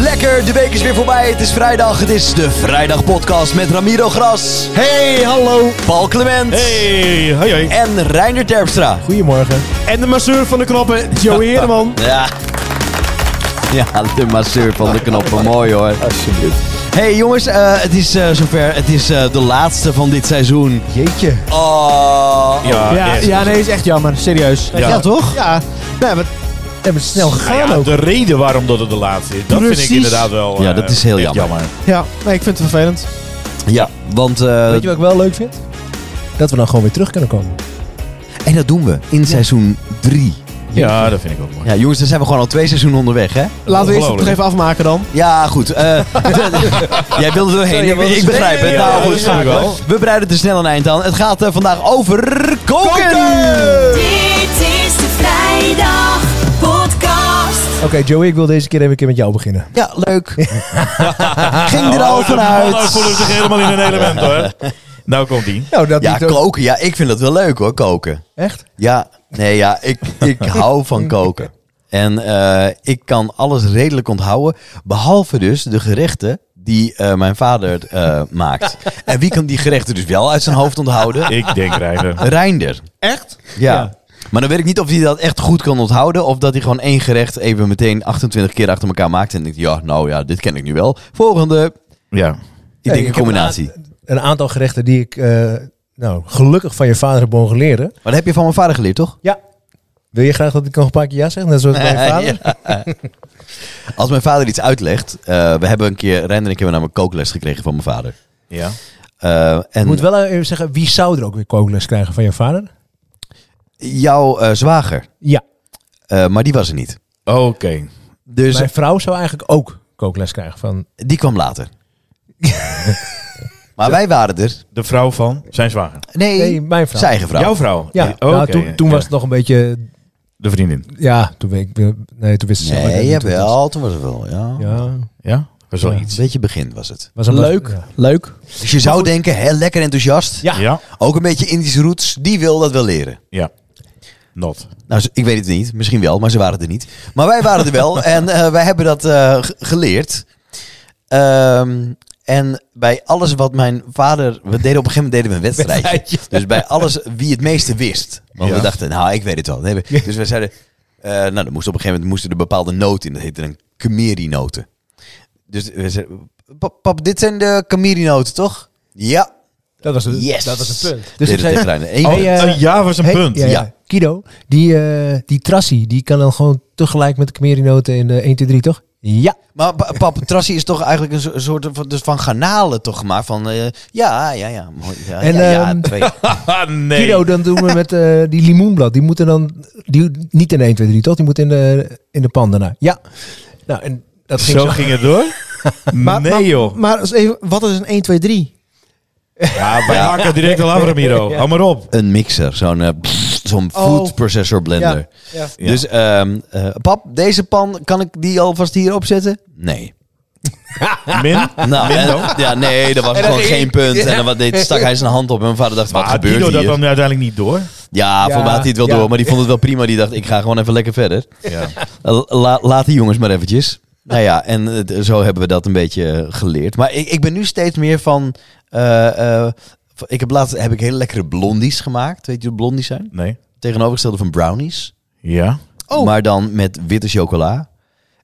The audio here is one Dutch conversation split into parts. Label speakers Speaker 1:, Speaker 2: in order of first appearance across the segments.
Speaker 1: Lekker, de week is weer voorbij. Het is vrijdag. Het is de Vrijdagpodcast met Ramiro Gras,
Speaker 2: Hey, hallo.
Speaker 1: Paul Clement
Speaker 2: Hey, hoi hoi.
Speaker 1: en Reiner Terpstra.
Speaker 2: Goedemorgen. En de masseur van de knoppen, Joey Heerman.
Speaker 1: Ja. Ja, de masseur van de knoppen. Mooi hoor.
Speaker 2: Alsjeblieft.
Speaker 1: Hey jongens, eh, het is eh, zover. Het is eh, de laatste van dit seizoen.
Speaker 3: Jeetje.
Speaker 1: Oh.
Speaker 2: Ja,
Speaker 3: Ja,
Speaker 2: echt.
Speaker 3: ja, nee, is echt jammer. Serieus.
Speaker 2: Ah, Ja.
Speaker 3: toch? Ja. Nee, maar we hebben het snel
Speaker 2: Nou
Speaker 3: gegaan
Speaker 2: ja,
Speaker 3: ook.
Speaker 2: de reden waarom dat het de laatste is, dat vind
Speaker 3: Precies.
Speaker 2: ik inderdaad wel
Speaker 1: Ja,
Speaker 2: eh,
Speaker 1: dat is heel
Speaker 2: echt
Speaker 1: jammer.
Speaker 3: Ja, nee, ik vind het vervelend.
Speaker 1: Ja, want... eh,
Speaker 3: Weet je wat ik wel leuk vind? Dat we dan gewoon weer terug kunnen komen.
Speaker 1: en dat doen we in seizoen 3.
Speaker 2: Ja, dat vind ik ook mooi.
Speaker 1: Ja, jongens, dan zijn we gewoon al twee seizoenen onderweg, hè?
Speaker 3: Laten we eerst het
Speaker 2: Ongelooflijk.
Speaker 3: nog even afmaken dan.
Speaker 1: Ja, goed. eh, jij wilde er doorheen.
Speaker 3: Sorry,
Speaker 1: ik
Speaker 3: was-
Speaker 1: begrijp het.
Speaker 2: Nee,
Speaker 1: nou,
Speaker 2: ja,
Speaker 1: goed.
Speaker 2: dat snap ik wel.
Speaker 1: We breiden er snel een eind aan. Het gaat eh, vandaag over koken.
Speaker 4: Dit is de vrijdag podcast.
Speaker 3: Oké, Joey, ik wil deze keer even een keer met jou beginnen.
Speaker 1: Ja, leuk. Ging er al
Speaker 2: Oh, de mannen
Speaker 1: vanuit.
Speaker 2: voelen zich helemaal in een element hoor. Nou komt die.
Speaker 3: Nou, dat
Speaker 1: Ja,
Speaker 3: niet ook.
Speaker 1: koken. Ja, ik vind dat wel leuk hoor, koken.
Speaker 3: Echt?
Speaker 1: Ja, nee, ja, ik, ik hou van koken. En eh, ik kan alles redelijk onthouden, behalve dus de gerechten die eh, mijn vader eh, maakt. En wie kan die gerechten dus wel uit zijn hoofd onthouden?
Speaker 2: Ik denk rijden.
Speaker 1: Reinder.
Speaker 3: Echt?
Speaker 1: Ja. Maar dan weet ik niet of hij dat echt goed kan onthouden. Of dat hij gewoon één gerecht even meteen 28 keer achter elkaar maakt. En denkt, ja, nou ja, dit ken ik nu wel. Volgende.
Speaker 2: Ja.
Speaker 1: Ik
Speaker 3: Ja,
Speaker 1: denk
Speaker 3: ik
Speaker 1: een
Speaker 3: heb
Speaker 1: combinatie.
Speaker 3: Een aantal gerechten die ik, eh, nou, gelukkig van je vader heb mogen leren.
Speaker 1: Maar dat heb je van mijn vader geleerd, toch?
Speaker 3: Ja. Wil je graag dat ik nog een paar keer ja zeg, net zoals bij je vader?
Speaker 1: Ja. Als mijn vader iets uitlegt. eh, we hebben een keer, Reinder en ik hebben namelijk kookles gekregen van mijn vader.
Speaker 2: Ja.
Speaker 1: Eh, en
Speaker 3: Ik moet wel even zeggen, wie zou er ook weer kookles krijgen van je vader?
Speaker 1: jouw eh, zwager.
Speaker 3: Ja.
Speaker 1: Eh, maar die was er niet.
Speaker 2: Oké.
Speaker 1: Dus
Speaker 3: Mijn vrouw zou eigenlijk ook kookles krijgen van
Speaker 1: die kwam later. maar wij waren er.
Speaker 2: De vrouw van zijn zwager.
Speaker 1: Nee,
Speaker 3: Nee, mijn vrouw.
Speaker 1: zijn eigen vrouw.
Speaker 2: Jouw vrouw.
Speaker 3: Ja,
Speaker 2: Eh,
Speaker 3: nou,
Speaker 2: oké.
Speaker 3: toen, toen
Speaker 2: Ja.
Speaker 3: was het nog een beetje...
Speaker 2: de vriendin.
Speaker 3: Ja, toen, ben ik, nee, toen wist ze zelf
Speaker 1: Nee,
Speaker 3: niet hoe het was.
Speaker 1: jawel. Toen was het wel, ja.
Speaker 3: Ja,
Speaker 2: Ja. Was wel
Speaker 3: Ja.
Speaker 2: iets.
Speaker 1: Een beetje begin was het.
Speaker 3: was een leuk. Ja.
Speaker 1: Leuk. Dus je zou denken, hè, lekker enthousiast.
Speaker 3: Ja.
Speaker 2: Ja.
Speaker 1: Ook een beetje Indische roots, die wil dat wel leren.
Speaker 2: Ja. Not.
Speaker 1: Nou, ze- ik weet het niet. Misschien wel, maar ze waren er niet. Maar wij waren er wel en eh, wij hebben dat eh, g- geleerd. Ehm, en bij alles wat mijn vader... We deden op een gegeven moment deden we een wedstrijdje. Dus bij alles wie het meeste wist. Want we
Speaker 2: Ja.
Speaker 1: dachten, nou, ik weet het wel. Nee, we- Dus we zeiden... eh, nou, dan moest op een gegeven moment moesten er bepaalde noten in. Dat heette dan kameri-noten. Dus we zeiden... Pap, pap, dit zijn de kameri-noten, toch? Ja.
Speaker 3: Dat was het,
Speaker 1: Yes.
Speaker 3: dat was het punt.
Speaker 1: Dus
Speaker 3: ik zei-
Speaker 1: Eén
Speaker 3: Oh,
Speaker 1: punt.
Speaker 3: ja. Eh,
Speaker 2: Een ja was een
Speaker 3: Hey,
Speaker 2: punt.
Speaker 3: Ja,
Speaker 1: Ja.
Speaker 3: ja. Guido, die, eh, die trassie, die kan dan gewoon tegelijk met de Camerinoten in eh, de 1, 2, 3, toch? Ja.
Speaker 1: Maar pa- pap, Trassi is toch eigenlijk een so- soort van, dus van garnalen toch gemaakt? Van, eh, ja, ja, ja. Mooi, ja,
Speaker 3: En,
Speaker 1: ja, ja,
Speaker 3: ehm,
Speaker 1: twee.
Speaker 2: Haha, Ah, nee.
Speaker 3: Guido, dan doen we met eh, die limoenblad. Die moeten dan, die, niet in de 1, 2, 3, toch? Die moet in de, in de pan daarna. Ja. Nou, en dat ging
Speaker 2: Zo
Speaker 3: zo.
Speaker 2: ging het door? nee joh.
Speaker 5: Maar als even, wat is een 1, 2, 3?
Speaker 2: Ja, wij
Speaker 1: Ja.
Speaker 2: hakken direct al af, Ramiro. Hou maar op.
Speaker 1: Een mixer, zo'n eh, pff, zo'n food processor blender.
Speaker 5: Ja.
Speaker 2: Ja.
Speaker 1: Dus ehm, eh, pap, deze pan, kan ik die alvast hier opzetten? Nee.
Speaker 2: Min?
Speaker 1: Nou, en- ja, nee, dat was gewoon geen punt. En dan wat deed, stak hij zijn hand op en mijn vader dacht, wat
Speaker 2: Maar
Speaker 1: gebeurt
Speaker 2: Guido
Speaker 1: hier?
Speaker 2: dat dan uiteindelijk niet door?
Speaker 1: Ja, voor
Speaker 3: Ja,
Speaker 1: mij had hij het wel
Speaker 3: ja.
Speaker 1: door, maar die vond het wel prima. Die dacht, ik ga gewoon even lekker verder.
Speaker 2: Ja.
Speaker 1: La- la- laat die jongens maar eventjes. Nou ja, en eh, d- zo hebben we dat een beetje eh, geleerd. Maar ik, ik ben nu steeds meer van... eh, eh, van- ik heb laatst heb ik hele lekkere blondies gemaakt. Weet je wat blondies zijn?
Speaker 2: Nee.
Speaker 1: Tegenovergestelde van brownies.
Speaker 2: Ja.
Speaker 5: Oh.
Speaker 1: Maar dan met witte chocola.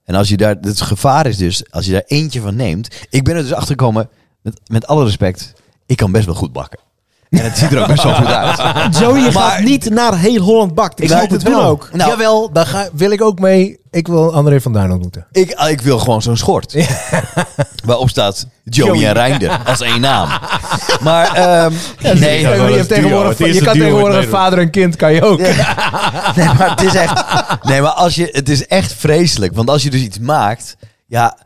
Speaker 1: En als je daar... Het gevaar is dus, als je daar eentje van neemt... Ik ben er dus achter gekomen, met, met alle respect... Ik kan best wel goed bakken. En het ziet er ook best wel goed uit.
Speaker 5: Joey, je
Speaker 1: Maar-
Speaker 5: gaat niet naar heel Holland bakt. Ik
Speaker 1: Nou,
Speaker 5: snap het wel. ook.
Speaker 1: Nou,
Speaker 3: Jawel, daar ga, wil ik ook mee. Ik wil André van Duin ontmoeten.
Speaker 1: Ik, ah, ik wil gewoon zo'n schort. Waarop staat Joey, en Reinder als één naam. Maar ehm, nee,
Speaker 2: Ja, maar dat
Speaker 3: je
Speaker 2: is
Speaker 3: hebt
Speaker 2: duo.
Speaker 3: tegenwoordig,
Speaker 2: Het is
Speaker 3: je
Speaker 2: een
Speaker 3: kan
Speaker 2: duo
Speaker 3: tegenwoordig
Speaker 2: met
Speaker 3: een
Speaker 2: Nederland.
Speaker 3: vader en kind, kan je ook.
Speaker 1: nee, maar het is echt. Nee, maar als je, het is echt vreselijk. Want als je dus iets maakt, ja,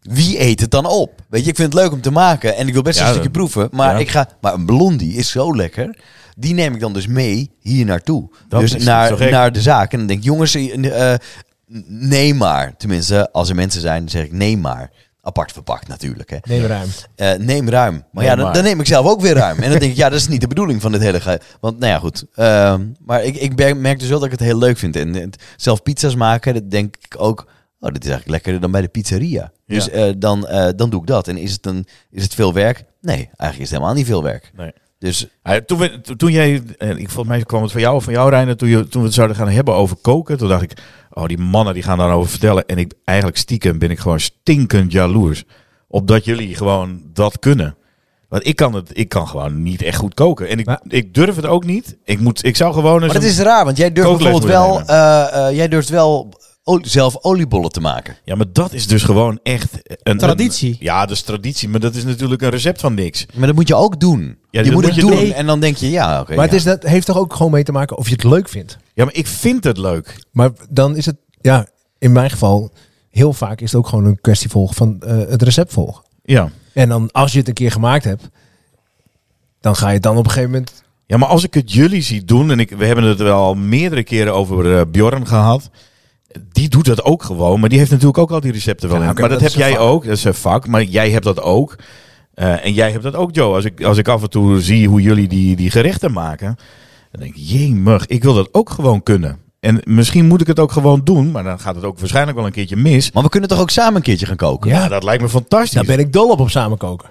Speaker 1: wie eet het dan op? Weet je, ik vind het leuk om te maken en ik wil best
Speaker 2: Ja,
Speaker 1: een stukje
Speaker 2: dat-
Speaker 1: proeven. Maar
Speaker 2: ja.
Speaker 1: ik ga, maar een blondie is zo lekker. Die neem ik dan dus mee hier naartoe.
Speaker 2: Dat
Speaker 1: dus
Speaker 2: is niet zo
Speaker 1: naar,
Speaker 2: gek.
Speaker 1: naar de zaak. En dan denk ik, jongens, eh, eh, neem maar. Tenminste, als er mensen zijn, dan zeg ik neem maar. Apart verpakt natuurlijk. Hè.
Speaker 3: Neem ruim.
Speaker 1: Eh, neem ruim. Maar
Speaker 2: Neem
Speaker 1: ja, dan,
Speaker 2: maar.
Speaker 1: dan neem ik zelf ook weer ruim. En dan denk ik, ja, dat is niet de bedoeling van dit hele ge- Want nou ja, goed. Ehm, maar ik, ik merk- merk dus wel dat ik het heel leuk vind. En het- zelf pizza's maken, dat denk ik ook... Oh, dit is eigenlijk lekkerder dan bij de pizzeria. Dus
Speaker 2: Ja.
Speaker 1: eh, dan, eh, dan doe ik dat. En is het, een, is het veel werk? Nee, eigenlijk is het helemaal niet veel werk.
Speaker 2: Nee.
Speaker 1: Dus
Speaker 2: Ah, toen, we, to- toen jij, eh, ik, volgens mij kwam het van jou of van jou Reiner, toen, je, toen we het zouden gaan hebben over koken, toen dacht ik, oh die mannen die gaan daarover vertellen. En ik, eigenlijk stiekem ben ik gewoon stinkend jaloers op dat jullie gewoon dat kunnen. Want ik kan, het, ik kan gewoon niet echt goed koken. En ik,
Speaker 3: Maar-
Speaker 2: ik durf het ook niet. Ik, moet, ik zou gewoon eens...
Speaker 1: Maar dat
Speaker 2: een-
Speaker 1: is raar, want jij durft
Speaker 2: Kookles
Speaker 1: bijvoorbeeld wel,
Speaker 2: moet
Speaker 1: eh, eh, jij durft wel olie- zelf oliebollen te maken.
Speaker 2: Ja, maar dat is dus gewoon echt... Een,
Speaker 5: Traditie.
Speaker 2: een- ja, dat is traditie, maar dat is natuurlijk een recept van niks.
Speaker 1: Maar dat moet je ook doen.
Speaker 2: dat
Speaker 1: je moet
Speaker 2: moet
Speaker 1: het
Speaker 2: je
Speaker 1: doen.
Speaker 2: doen.
Speaker 1: En dan denk je, ja, oké.
Speaker 3: Maar
Speaker 1: ja.
Speaker 3: het is, dat heeft toch ook gewoon mee te maken of je het leuk vindt.
Speaker 2: Ja, maar ik vind het leuk.
Speaker 3: Maar dan is het, ja, in mijn geval, heel vaak is het ook gewoon een kwestie volgen van eh, het recept volgen.
Speaker 2: Ja.
Speaker 3: En dan als je het een keer gemaakt hebt, dan ga je het dan op een gegeven moment...
Speaker 2: Ja, maar als ik het jullie zie doen, en ik, we hebben het wel al meerdere keren over eh, Bjorn gehad. Die doet dat ook gewoon, maar die heeft natuurlijk ook al die recepten wel
Speaker 3: Ja,
Speaker 2: in.
Speaker 3: oké,
Speaker 2: maar
Speaker 3: maar
Speaker 2: dat,
Speaker 3: dat
Speaker 2: heb
Speaker 3: is
Speaker 2: jij
Speaker 3: een
Speaker 2: ook, dat is een vak, maar jij hebt dat ook. Eh, en jij hebt dat ook, Joe. Als ik, als ik af en toe zie hoe jullie die, die gerechten maken, dan denk ik, jemig, ik wil dat ook gewoon kunnen. En misschien moet ik het ook gewoon doen, maar dan gaat het ook waarschijnlijk wel een keertje mis.
Speaker 1: Maar we kunnen toch ook samen een keertje gaan koken?
Speaker 2: Ja, dat lijkt me fantastisch.
Speaker 3: Daar ben ik dol op, op samen koken.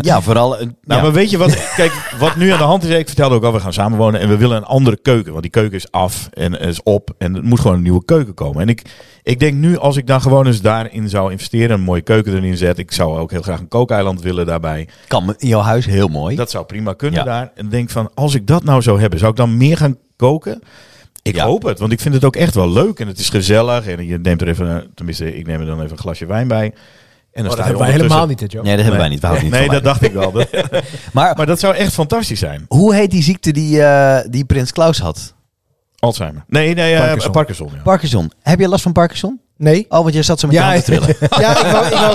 Speaker 1: Ja, vooral... eh,
Speaker 2: Nou,
Speaker 1: ja.
Speaker 2: maar weet je wat? Kijk, wat nu aan de hand is, ik vertelde ook al, we gaan samenwonen en we willen een andere keuken. Want die keuken is af en is op en er moet gewoon een nieuwe keuken komen. En ik, ik denk nu, als ik dan gewoon eens daarin zou investeren, een mooie keuken erin zet. Ik zou ook heel graag een kookeiland willen daarbij.
Speaker 1: Kan in jouw huis heel mooi.
Speaker 2: Dat zou prima kunnen
Speaker 1: Ja.
Speaker 2: daar. En denk van, als ik dat nou zou hebben, zou ik dan meer gaan koken? Ik
Speaker 1: Ja.
Speaker 2: hoop het, want ik vind het ook echt wel leuk en het is gezellig. En je neemt er even, eh, tenminste, ik neem er dan even een glasje wijn bij. En dan
Speaker 3: Oh,
Speaker 2: sta
Speaker 3: dat
Speaker 2: je
Speaker 3: hebben wij
Speaker 2: ondertussen-
Speaker 3: helemaal niet, hè, Joe.
Speaker 1: nee, dat hebben wij niet. We houden niet
Speaker 2: Nee,
Speaker 1: van
Speaker 2: dat
Speaker 1: wijn.
Speaker 2: dacht ik wel. Dat-
Speaker 1: Maar,
Speaker 2: maar dat zou echt fantastisch zijn.
Speaker 1: hoe heet die ziekte die, eh, die Prins Klaus had?
Speaker 2: Alzheimer. Nee, nee, eh,
Speaker 3: Parkinson.
Speaker 2: Parkinson. ja.
Speaker 1: Parkinson. Heb je last van Parkinson?
Speaker 5: Nee.
Speaker 1: Oh, want jij zat zo met
Speaker 3: Ja,
Speaker 1: je handen te trillen.
Speaker 5: Ja, ik wou, ik wou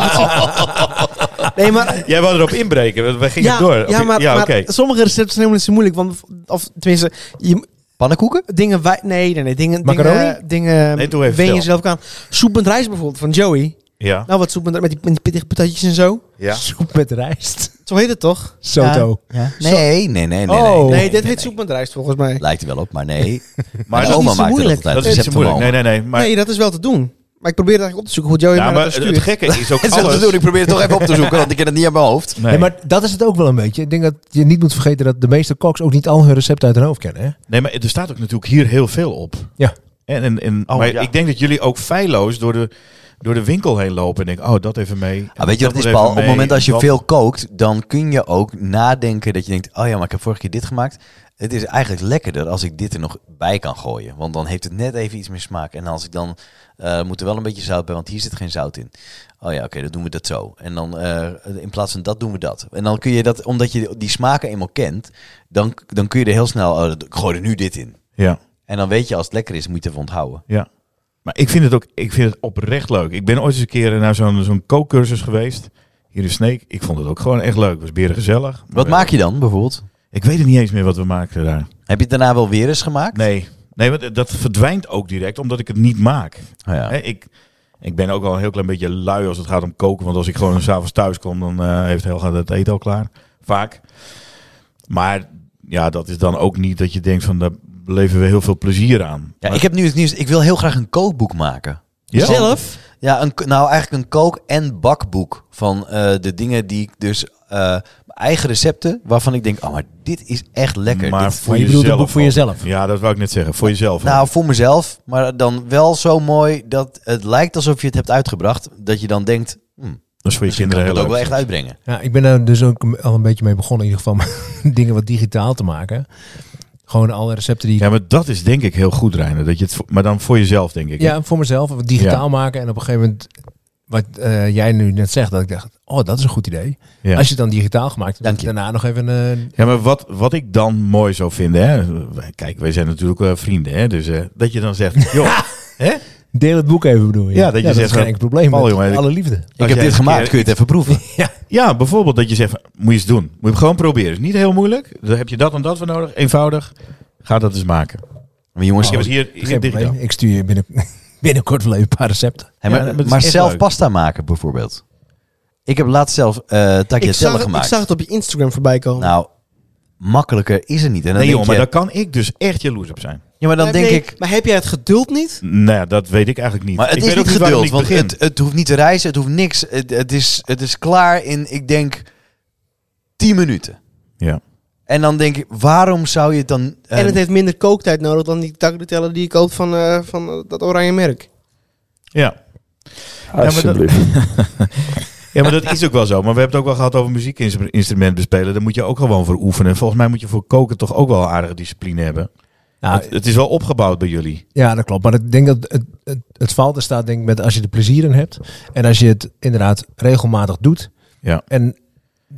Speaker 5: het Nee, maar...
Speaker 2: Jij wou erop inbreken, want wij gingen
Speaker 5: Ja,
Speaker 2: door. Of
Speaker 5: ja,
Speaker 2: je-
Speaker 5: maar,
Speaker 2: ja,
Speaker 5: maar
Speaker 2: oké.
Speaker 5: sommige recepten zijn helemaal niet zo moeilijk. Want, of tenminste, je,
Speaker 1: Pannenkoeken?
Speaker 5: dingen... wij- nee, nee, nee. Dingen,
Speaker 3: Macaroni?
Speaker 5: dingen, dingen
Speaker 2: Nee, doe even,
Speaker 5: wen je
Speaker 2: vertel.
Speaker 5: zelf ook aan. Soep met rijst bijvoorbeeld, van Joey.
Speaker 2: Ja.
Speaker 5: Nou, wat soep met, met die, met die pittige patatjes en zo.
Speaker 2: ja.
Speaker 3: Soep met rijst.
Speaker 5: Zo heet het toch?
Speaker 3: Soto.
Speaker 1: Nee, nee, nee. nee, nee,
Speaker 3: Oh.
Speaker 5: Nee,
Speaker 1: nee,
Speaker 5: dit heet
Speaker 1: nee.
Speaker 5: soep met rijst volgens mij.
Speaker 1: Lijkt er wel op, maar nee.
Speaker 2: Maar
Speaker 1: Mijn
Speaker 5: dat is
Speaker 1: oma
Speaker 5: niet zo
Speaker 1: maakte
Speaker 5: moeilijk.
Speaker 1: dat altijd.
Speaker 2: dat is niet zo
Speaker 1: Recept van
Speaker 2: moeilijk. Nee,
Speaker 1: mijn
Speaker 2: nee, nee. Maar,
Speaker 5: Nee, dat is wel te doen. Maar ik probeer eigenlijk op te zoeken hoe Joey
Speaker 2: ja,
Speaker 5: mij
Speaker 2: maar
Speaker 5: dat
Speaker 2: het
Speaker 5: stuurt.
Speaker 2: gekke
Speaker 1: oma.
Speaker 2: is ook
Speaker 1: Het is wel te
Speaker 2: alles...
Speaker 1: doen. Ik probeer het toch even op te zoeken, want ik ken het niet uit mijn hoofd.
Speaker 2: Nee.
Speaker 3: Nee, maar dat is het ook wel een beetje. Ik denk dat je niet moet vergeten dat de meeste koks ook niet al hun recepten uit hun hoofd kennen. Hè?
Speaker 2: nee, maar er staat ook natuurlijk hier heel veel op.
Speaker 3: Ja.
Speaker 2: En, en, en,
Speaker 1: Oh,
Speaker 2: maar
Speaker 1: ja.
Speaker 2: ik denk dat jullie ook feilloos door de, door de winkel heen lopen. En denken, oh, dat even mee.
Speaker 1: Ah, weet je wat het
Speaker 2: dat
Speaker 1: is,
Speaker 2: even
Speaker 1: Paul? Op het
Speaker 2: mee,
Speaker 1: moment als je
Speaker 2: dat-
Speaker 1: veel kookt, dan kun je ook nadenken dat je denkt... oh ja, maar ik heb vorige keer dit gemaakt. Het is eigenlijk lekkerder als ik dit er nog bij kan gooien. Want dan heeft het net even iets meer smaak. En als ik dan... eh, moet er wel een beetje zout bij, want hier zit geen zout in. Oh ja, oké, dan doen we dat zo. En dan eh, in plaats van dat doen we dat. En dan kun je dat, omdat je die smaken eenmaal kent... dan, dan kun je er heel snel... oh, ik gooi er nu dit in.
Speaker 2: Ja,
Speaker 1: En dan weet je als het lekker is, moet je het even onthouden.
Speaker 2: ja. Maar ik vind het ook ik vind het oprecht leuk. Ik ben ooit eens een keer naar zo'n zo'n kookcursus geweest. Hier in Sneek. Ik vond het ook gewoon echt leuk. Het was beren gezellig.
Speaker 1: Wat maak je dan, bijvoorbeeld?
Speaker 2: Ik weet het niet eens meer wat we maakten daar.
Speaker 1: Heb je het daarna wel weer eens gemaakt?
Speaker 2: Nee, nee want dat verdwijnt ook direct omdat ik het niet maak.
Speaker 1: Oh ja.
Speaker 2: Hè, ik, ik ben ook al een heel klein beetje lui als het gaat om koken. Want als ik gewoon s'avonds thuis kom, dan eh, heeft Helga het eten al klaar. Vaak. Maar ja, dat is dan ook niet dat je denkt van daar beleven we heel veel plezier aan.
Speaker 1: Ja, ik heb nu het nieuws. Ik wil heel graag een kookboek maken.
Speaker 2: Ja?
Speaker 5: Zelf?
Speaker 1: Ja, een, k- nou eigenlijk een kook- en bakboek van eh, de dingen die ik dus... eh, mijn eigen recepten waarvan ik denk, oh, maar dit is echt lekker.
Speaker 2: Maar
Speaker 1: Dit-
Speaker 2: voor
Speaker 3: Maar je bedoelt
Speaker 2: jezelf.
Speaker 3: een boek voor
Speaker 2: ook.
Speaker 3: jezelf?
Speaker 2: Ja, dat wou ik net zeggen. Voor jezelf. ook.
Speaker 1: nou, voor mezelf, maar dan wel zo mooi dat het lijkt alsof je het hebt uitgebracht. Dat je dan denkt, hm,
Speaker 2: dat is voor je
Speaker 1: misschien kan
Speaker 2: kinderen
Speaker 1: ik
Speaker 2: heel
Speaker 1: het
Speaker 2: leuk.
Speaker 1: ook wel echt uitbrengen.
Speaker 3: Ja, ik ben daar dus ook al een beetje mee begonnen in ieder geval. met dingen wat digitaal te maken. Gewoon alle recepten die ik...
Speaker 2: Ja, maar dat is denk ik heel goed, Reiner. Dat je het, voor- maar dan voor jezelf, denk ik.
Speaker 3: Ja, voor mezelf. Wat digitaal maken. En op een gegeven moment, wat eh, jij nu net zegt, dat ik dacht, oh, dat is een goed idee.
Speaker 2: Ja.
Speaker 3: Als je het dan digitaal gemaakt hebt,
Speaker 1: Dank je.
Speaker 3: daarna nog even eh, een...
Speaker 2: Ja, maar wat, wat ik dan mooi zou vinden, hè? kijk, wij zijn natuurlijk eh, vrienden, hè? dus eh, dat je dan zegt, joh, hè?
Speaker 3: Deel het boek even, bedoel je? eh,
Speaker 2: Ja, dat je
Speaker 3: dat
Speaker 2: zegt
Speaker 3: is geen
Speaker 2: van,
Speaker 3: enkel probleem.
Speaker 2: Paul,
Speaker 3: met
Speaker 2: jongen,
Speaker 3: alle liefde.
Speaker 1: Ik heb
Speaker 2: jij
Speaker 1: dit
Speaker 2: een
Speaker 1: gemaakt,
Speaker 2: keer-
Speaker 1: kun je het even proeven.
Speaker 2: Ja, bijvoorbeeld dat je zegt, van, moet je eens doen. Moet je gewoon proberen. Is niet heel moeilijk. Dan heb je dat en dat voor nodig. Eenvoudig. Ga dat eens maken.
Speaker 1: Oh, Maar jongens,
Speaker 2: Ik heb het hier, hier
Speaker 3: Geen
Speaker 2: digitaal.
Speaker 3: probleem. Ik stuur je binnen, binnenkort wel even een paar recepten.
Speaker 1: Hey,
Speaker 2: Ja,
Speaker 1: maar
Speaker 2: maar dat is
Speaker 1: maar
Speaker 2: echt
Speaker 1: zelf
Speaker 2: leuk.
Speaker 1: pasta maken bijvoorbeeld. Ik heb laatst zelf eh
Speaker 5: Ik zag,
Speaker 1: tagliatelle
Speaker 5: het, ik
Speaker 1: gemaakt.
Speaker 5: zag het op je Instagram voorbij komen.
Speaker 1: Nou, makkelijker is het niet. En dan
Speaker 2: Nee
Speaker 1: denk
Speaker 2: joh, maar
Speaker 1: je,
Speaker 2: daar kan ik dus echt jaloers op zijn.
Speaker 1: Ja, maar dan
Speaker 5: Nee,
Speaker 1: denk
Speaker 5: nee,
Speaker 1: ik...
Speaker 5: Maar heb jij het geduld niet?
Speaker 2: Nou, ja, dat weet ik eigenlijk niet.
Speaker 1: Maar het
Speaker 2: ik
Speaker 1: is
Speaker 2: weet ook
Speaker 1: niet
Speaker 2: waar
Speaker 1: geduld, want
Speaker 2: begin.
Speaker 1: het, het hoeft niet te reizen, het hoeft niks. Het, het, is, het is klaar in, ik denk, 10 minuten.
Speaker 2: Ja.
Speaker 1: En dan denk ik, waarom zou je het dan... eh,
Speaker 5: en het heeft minder kooktijd nodig dan die tagliatelle die ik koop van, eh, van eh, dat oranje merk.
Speaker 2: Ja.
Speaker 6: Alsjeblieft.
Speaker 2: ja, maar dat is ook wel zo. Maar we hebben het ook wel gehad over muziekinstrument bespelen. Daar moet je ook gewoon voor oefenen. Volgens mij moet je voor koken toch ook wel een aardige discipline hebben.
Speaker 3: Nou,
Speaker 2: het, het is wel opgebouwd bij jullie.
Speaker 3: Ja, dat klopt. Maar ik denk dat het, het, het valt er staat denk ik met als je er plezier in hebt. En als je het inderdaad regelmatig doet.
Speaker 2: Ja.
Speaker 3: En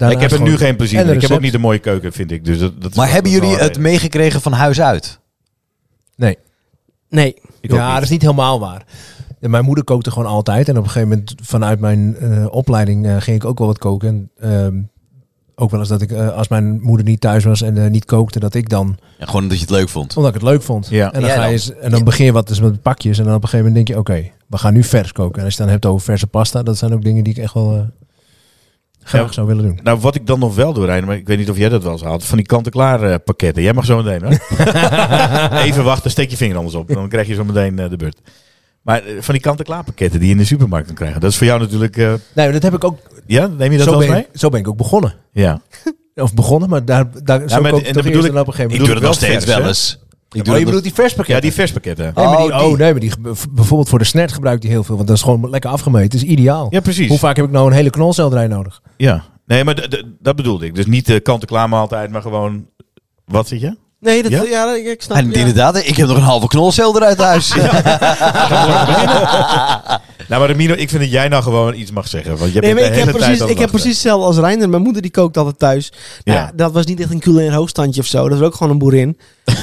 Speaker 2: ik heb er nu geen plezier
Speaker 3: en
Speaker 2: in.
Speaker 3: een
Speaker 2: Ik heb ook
Speaker 3: recept.
Speaker 2: niet een mooie keuken, vind ik. Dus dat, dat is
Speaker 1: maar
Speaker 2: wel-
Speaker 1: hebben
Speaker 2: dat is
Speaker 1: jullie
Speaker 2: wel
Speaker 1: het meegekregen van huis uit?
Speaker 5: Nee.
Speaker 2: Ik ook
Speaker 3: ja,
Speaker 2: niet.
Speaker 3: dat is niet helemaal waar. Ja, Mijn moeder kookte gewoon altijd. En op een gegeven moment vanuit mijn eh, opleiding eh, ging ik ook wel wat koken. En, ehm, ook wel eens dat ik, eh, als mijn moeder niet thuis was en eh, niet kookte, dat ik dan,
Speaker 1: Ja, gewoon omdat je het leuk vond.
Speaker 3: omdat ik het leuk vond.
Speaker 2: Ja.
Speaker 3: En dan,
Speaker 1: Ja,
Speaker 3: ga je,
Speaker 1: dan-
Speaker 3: eens- en dan begin je wat dus met pakjes. En dan op een gegeven moment denk je, oké, we gaan nu vers koken. En als je het dan hebt over verse pasta, dat zijn ook dingen die ik echt wel eh, graag
Speaker 2: Ja.
Speaker 3: zou willen doen.
Speaker 2: Nou, wat ik dan nog wel doe, Reiner, maar ik weet niet of jij dat wel eens haalt. Van die kant-en-klaar eh, pakketten. Jij mag zo meteen, hoor. Even wachten, steek je vinger anders op. Dan krijg je zo meteen eh, de beurt. Maar eh, van die kant-en-klaar pakketten die je in de supermarkt kan krijgen. Dat is voor jou natuurlijk... eh,
Speaker 3: Nee, dat heb ik ook.
Speaker 2: ja, neem je dat
Speaker 3: zo,
Speaker 2: wel eens
Speaker 3: ben
Speaker 2: mee?
Speaker 3: ik, zo ben ik ook begonnen.
Speaker 2: Ja.
Speaker 3: Of begonnen, maar daar, daar zo
Speaker 2: maar
Speaker 3: kook ik
Speaker 2: en
Speaker 3: toch
Speaker 2: dan bedoel
Speaker 3: eerst
Speaker 2: ik-
Speaker 3: en op een gegeven
Speaker 1: Ik
Speaker 2: ik
Speaker 1: doe
Speaker 3: moment.
Speaker 1: het
Speaker 2: doe dat
Speaker 1: nog
Speaker 2: wel
Speaker 1: steeds
Speaker 2: vers,
Speaker 1: wel
Speaker 2: hè?
Speaker 1: eens. Ik
Speaker 3: Oh, je bedoelt die verspakketten?
Speaker 2: ja, die verspakketten.
Speaker 3: Nee, maar die,
Speaker 1: Oh, die.
Speaker 3: oh, nee, maar die, bijvoorbeeld voor de snert gebruikt die heel veel. Want dat is gewoon lekker afgemeten. Dat is ideaal.
Speaker 2: Ja, precies.
Speaker 3: Hoe vaak heb ik nou een hele knolselderij nodig?
Speaker 2: Ja. Nee, maar d- d- dat bedoelde ik. Dus niet de kant-en-klaar maaltijd, maar gewoon... Wat zeg je?
Speaker 5: Nee, dat,
Speaker 2: Ja?
Speaker 5: ja? ik, ik snap
Speaker 1: En
Speaker 5: het, ja.
Speaker 1: inderdaad, ik heb nog een halve knolcel eruit huis.
Speaker 2: Nou, maar Ramiro, ik vind dat jij nou gewoon iets mag zeggen. Want je hebt
Speaker 5: Nee, maar
Speaker 2: het
Speaker 5: ik
Speaker 2: de
Speaker 5: heb,
Speaker 2: hele tijd
Speaker 5: precies,
Speaker 2: al
Speaker 5: ik heb
Speaker 2: wachten.
Speaker 5: precies hetzelfde als Reiner. Mijn moeder die kookt altijd thuis. Nou,
Speaker 2: Ja.
Speaker 5: dat was niet echt een culinair hoogstandje of zo. Dat was ook gewoon een boerin.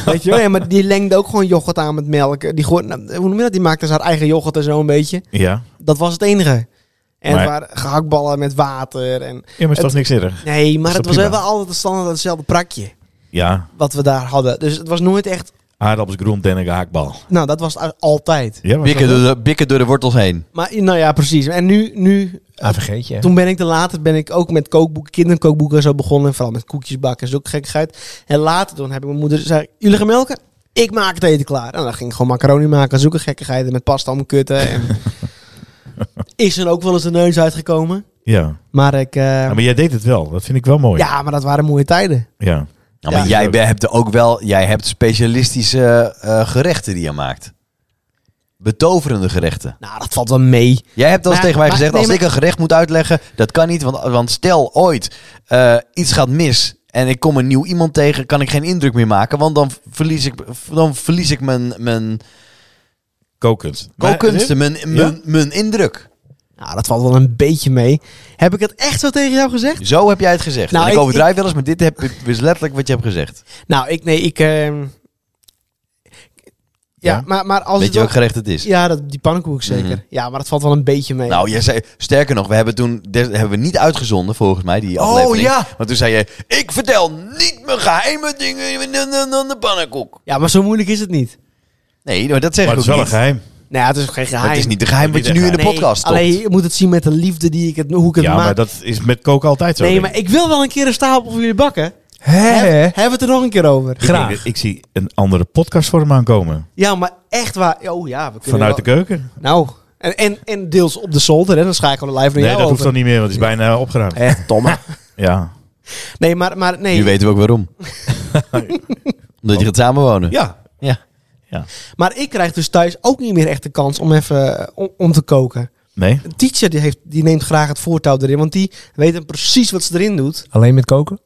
Speaker 5: Weet je wel? Ja, maar die lengde ook gewoon yoghurt aan met melk. Die gooi, nou, hoe noem je dat? Die maakte dus haar eigen yoghurt en zo een beetje.
Speaker 2: Ja.
Speaker 5: Dat was het enige. En
Speaker 2: Maar-
Speaker 5: het waren gehaktballen met water. En,
Speaker 2: ja, maar is toch
Speaker 5: Het-
Speaker 2: niks erg?
Speaker 5: nee, maar
Speaker 2: is
Speaker 5: het
Speaker 2: toch
Speaker 5: was
Speaker 2: prima?
Speaker 5: wel altijd standaard hetzelfde prakje.
Speaker 2: Ja.
Speaker 5: Wat we daar hadden. Dus het was nooit echt...
Speaker 2: Aardappels, groenten en een haakbal.
Speaker 5: Nou, dat was het altijd.
Speaker 2: Ja, maar
Speaker 1: Bikken door, de, bikken door de wortels heen.
Speaker 5: Maar nou ja, precies. En nu, nu
Speaker 3: AVG'tje. hè?
Speaker 5: Toen ben ik te later ben ik ook met kookboeken, kinderkookboeken en zo begonnen. Vooral met koekjes bakken en zulke gekkigheid. En later toen heb ik mijn moeder zei, ik, jullie gaan melken? Ik maak het eten klaar. En dan ging ik gewoon macaroni maken, zulke gekkigheden met pasta om kutten. En is er ook wel eens de neus uitgekomen.
Speaker 2: Ja.
Speaker 5: Maar ik... eh,
Speaker 2: Ja, maar jij deed het wel. Dat vind ik wel Ah, mooi.
Speaker 5: ja, maar dat waren mooie tijden.
Speaker 2: Ja.
Speaker 1: Ja, maar
Speaker 5: Ja.
Speaker 1: jij be- hebt er ook wel, jij hebt specialistische eh, gerechten die je maakt. Betoverende gerechten.
Speaker 5: Nou, dat valt wel mee.
Speaker 1: Jij hebt al eens
Speaker 5: Maar-
Speaker 1: tegen mij
Speaker 5: maar-
Speaker 1: gezegd,
Speaker 5: nee,
Speaker 1: als ik
Speaker 5: maar-
Speaker 1: een gerecht moet uitleggen, dat kan niet. Want, want stel ooit eh, iets gaat mis en ik kom een nieuw iemand tegen, kan ik geen indruk meer maken. Want dan verlies ik, dan verlies ik mijn, mijn
Speaker 2: Kokend.
Speaker 1: kookkunsten, mijn, mijn, mijn indruk.
Speaker 5: Nou, dat valt wel een beetje mee. Heb ik dat echt zo tegen jou gezegd?
Speaker 1: Zo heb jij het gezegd.
Speaker 5: Nou,
Speaker 1: en ik,
Speaker 5: ik-
Speaker 1: overdrijf wel eens, maar dit heb, dit is letterlijk wat je hebt gezegd.
Speaker 5: Nou, ik... Nee, ik... ehm, ja,
Speaker 2: Ja?
Speaker 5: maar, maar als
Speaker 1: Weet
Speaker 5: het
Speaker 1: je
Speaker 5: wel-
Speaker 1: welk gerecht het is?
Speaker 5: Ja, dat, die pannenkoek zeker.
Speaker 1: Mhm.
Speaker 5: Ja, maar dat valt wel een beetje mee.
Speaker 1: Nou, jij zei, sterker nog, we hebben toen des- hebben we niet uitgezonden, volgens mij,
Speaker 5: Oh,
Speaker 1: die aflevering.
Speaker 3: ja.
Speaker 1: Want toen zei je, ik vertel niet mijn geheime dingen aan de pannenkoek.
Speaker 5: Ja, maar zo moeilijk is het niet.
Speaker 1: Nee, maar dat zeg
Speaker 2: Maar
Speaker 1: ik
Speaker 2: het
Speaker 1: ook
Speaker 2: is wel een
Speaker 1: niet.
Speaker 2: geheim.
Speaker 5: Nou ja, het is ook geen geheim.
Speaker 1: Het is niet de geheim wat je nu in de
Speaker 5: Nee,
Speaker 1: podcast stopt.
Speaker 5: Alleen je moet het zien met de liefde die ik het, hoe ik het
Speaker 2: Ja,
Speaker 5: maak.
Speaker 2: maar dat is met koken altijd zo.
Speaker 5: nee,
Speaker 2: denk
Speaker 5: maar
Speaker 2: ik.
Speaker 5: ik wil wel een keer een stapel voor jullie bakken. Heb-
Speaker 3: Hè?
Speaker 5: Hebben we het er nog een keer over?
Speaker 2: Ik, denk dat- ik zie een andere podcastvorm aankomen.
Speaker 5: Ja, maar echt waar. Oh ja, we kunnen
Speaker 2: Vanuit de
Speaker 5: wel-
Speaker 2: keuken.
Speaker 5: Nou, en, en, en deels op de zolder. Hè. Dan schakelen we live naar
Speaker 2: Nee,
Speaker 5: jou
Speaker 2: dat hoeft
Speaker 5: over. Eh,
Speaker 2: dan niet meer, want het is bijna opgeruimd.
Speaker 5: Echt, domme.
Speaker 2: Ja.
Speaker 5: Nee, maar, maar nee.
Speaker 1: Nu weten we ook waarom. Omdat je gaat samenwonen.
Speaker 2: Ja.
Speaker 1: Ja.
Speaker 5: Maar ik krijg dus thuis ook niet meer echt de kans om even eh, om, om te koken.
Speaker 2: Nee?
Speaker 5: Een teacher die, heeft, die neemt graag het voortouw erin, want die weet dan precies wat ze erin doet.
Speaker 3: Alleen met koken?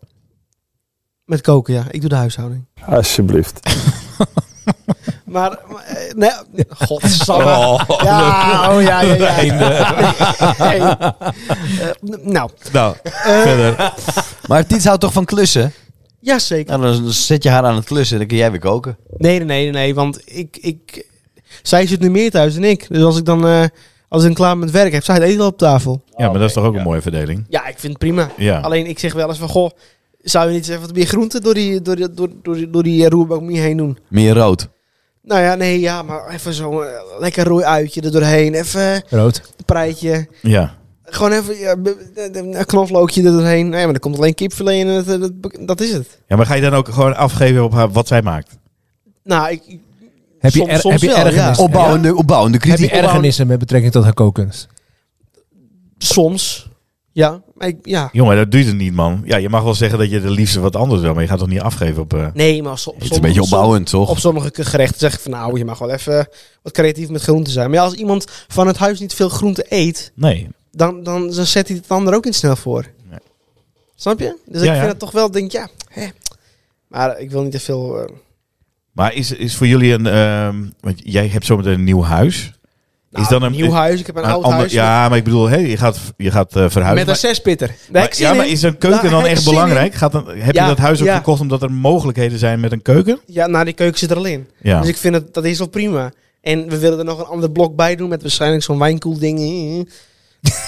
Speaker 5: Met koken, ja. Ik doe de huishouding.
Speaker 6: Alsjeblieft.
Speaker 5: Maar, maar, eh, nee, godsamme. ja, oh ja, ja, ja. Hey. Eh, n- nou,
Speaker 2: Nou, verder.
Speaker 1: Maar Tiet houdt toch van klussen?
Speaker 5: ja zeker.
Speaker 1: Nou, dan zet je haar aan het klussen en dan kun jij weer koken.
Speaker 5: Nee, nee, nee, nee, want ik, ik, zij zit nu meer thuis dan ik. Dus als ik dan, eh, als ik dan klaar met werk heb, zij het eten al op tafel.
Speaker 2: Ja, maar dat is toch ook een mooie verdeling.
Speaker 5: Ja, ik vind het prima.
Speaker 2: Ja.
Speaker 5: Alleen ik zeg wel eens van, goh, zou je niet eens even wat meer groenten door die, door, die- door, door, die- door die eh, roerbak om je heen doen?
Speaker 1: Meer rood.
Speaker 5: Nou ja, nee, ja, maar even zo'n eh, lekker rooi uitje er doorheen. Even eh, een
Speaker 3: Rood.
Speaker 5: preitje.
Speaker 2: Ja.
Speaker 5: Gewoon even ja, b- b- een knoflookje er doorheen. Nee, maar er komt alleen kipfilet in. en eh, Dat, dat, dat is het.
Speaker 2: Ja, maar ga je dan ook gewoon afgeven op haar wat zij eh, maakt?
Speaker 5: Nou, ik, ik-
Speaker 3: Heb je,
Speaker 5: Soms-
Speaker 3: er,
Speaker 5: soms
Speaker 3: heb je
Speaker 5: wel, ja.
Speaker 3: ergernis?
Speaker 1: Opbouwende, opbouwende
Speaker 3: Heb
Speaker 1: kritiek.
Speaker 3: je ergernissen met betrekking tot haar kookkunst?
Speaker 5: Soms. Ja, maar ik, ja.
Speaker 2: Jongen, dat doet het niet, man. Ja, je mag wel zeggen dat je de liefste wat anders wil, maar je gaat toch niet afgeven op... eh,
Speaker 5: Nee, maar soms.
Speaker 1: Het is een beetje opbouwend,
Speaker 5: Op
Speaker 1: toch?
Speaker 5: sommige gerechten zeg ik van nou, je mag wel even wat creatief met groenten zijn. Maar ja, als iemand van het huis niet veel groente eet,
Speaker 2: Nee.
Speaker 5: dan, dan, dan zet hij het dan er ook niet snel voor.
Speaker 2: Nee.
Speaker 5: Snap je? Dus
Speaker 2: Ja,
Speaker 5: ik
Speaker 2: ja.
Speaker 5: vind het toch wel, denk ja, hè. maar ik wil niet te veel. eh,
Speaker 2: Maar is, is voor jullie een... ehm, want jij hebt zometeen een nieuw huis.
Speaker 5: nou,
Speaker 2: is dan een
Speaker 5: nieuw huis? Ik heb een, oud
Speaker 2: ander-
Speaker 5: huis.
Speaker 2: Ja, maar ik bedoel, hey, je gaat, je gaat eh, verhuizen.
Speaker 5: met een
Speaker 2: maar-
Speaker 5: zespitter.
Speaker 2: maar-
Speaker 5: Nee, ik
Speaker 2: ja, maar is een keuken
Speaker 5: Daar
Speaker 2: dan
Speaker 5: heb ik
Speaker 2: echt
Speaker 5: zin
Speaker 2: belangrijk? Gaat dan, heb
Speaker 5: Ja,
Speaker 2: je dat huis ook
Speaker 5: ja.
Speaker 2: gekocht omdat er mogelijkheden zijn met een keuken?
Speaker 5: ja, nou, die keuken zit er al in.
Speaker 2: Ja.
Speaker 5: Dus ik vind het, dat is wel prima. En we willen er nog een ander blok bij doen met waarschijnlijk zo'n wijnkoelding.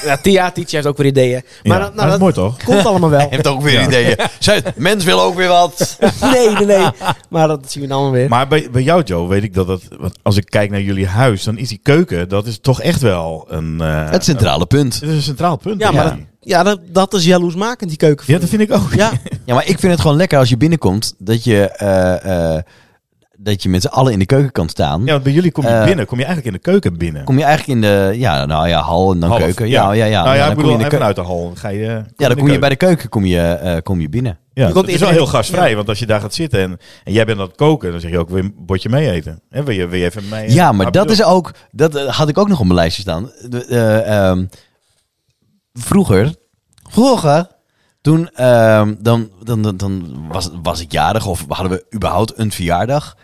Speaker 5: ja, Tia, Tietje heeft ook weer ideeën.
Speaker 2: Ja.
Speaker 5: Maar
Speaker 2: Maar
Speaker 5: dat, nou,
Speaker 2: dat is
Speaker 5: dat,
Speaker 2: mooi toch?
Speaker 5: komt allemaal wel.
Speaker 1: Heeft ook weer ideeën. Zuid, mens wil ook weer wat.
Speaker 5: nee, nee, nee. Maar dat zien we dan weer.
Speaker 2: Maar bij, bij jou, Joe, weet ik dat dat... Want als ik kijk naar jullie huis, dan is die keuken... Dat is toch echt wel een... eh,
Speaker 1: Het centrale punt.
Speaker 2: Het is een centraal punt.
Speaker 5: ja, maar
Speaker 2: ja.
Speaker 5: dat, ja, dat, dat is jaloersmakend, die keuken.
Speaker 2: Ja, dat vind ik ook.
Speaker 5: Ja,
Speaker 1: Ja, maar ik vind het gewoon lekker als je binnenkomt dat je, eh, eh, dat je met z'n allen in de keuken kan staan.
Speaker 2: Ja, want bij jullie kom je
Speaker 1: Eh,
Speaker 2: binnen, kom je eigenlijk in de keuken binnen.
Speaker 1: Kom je eigenlijk in de, ja, nou ja, hal en dan
Speaker 2: Half,
Speaker 1: keuken. Ja, ja, ja.
Speaker 2: Nou ja,
Speaker 1: dan kom
Speaker 2: ik
Speaker 1: je
Speaker 2: bedoel,
Speaker 1: in de
Speaker 2: even
Speaker 1: keuken.
Speaker 2: uit de hal. dan Ga je,
Speaker 1: Ja, dan kom je bij
Speaker 2: de
Speaker 1: de keuken kom je, eh, kom je binnen.
Speaker 2: keuken.
Speaker 5: Je
Speaker 2: Ja,
Speaker 5: komt
Speaker 2: dat is
Speaker 5: even
Speaker 2: wel
Speaker 5: in-
Speaker 2: heel gastvrij, want als je daar gaat zitten en, en jij bent aan het koken, dan zeg je ook, wil je een bordje mee eten? Hè, wil, je, wil je even mee?
Speaker 1: Ja, maar dat is ook. Dat eh, had ik ook nog op mijn lijstje staan. De- eh, ehm, vroeger. Vroeger. Toen. ehm, dan dan, dan, dan was, was ik jarig. Of hadden we überhaupt een verjaardag.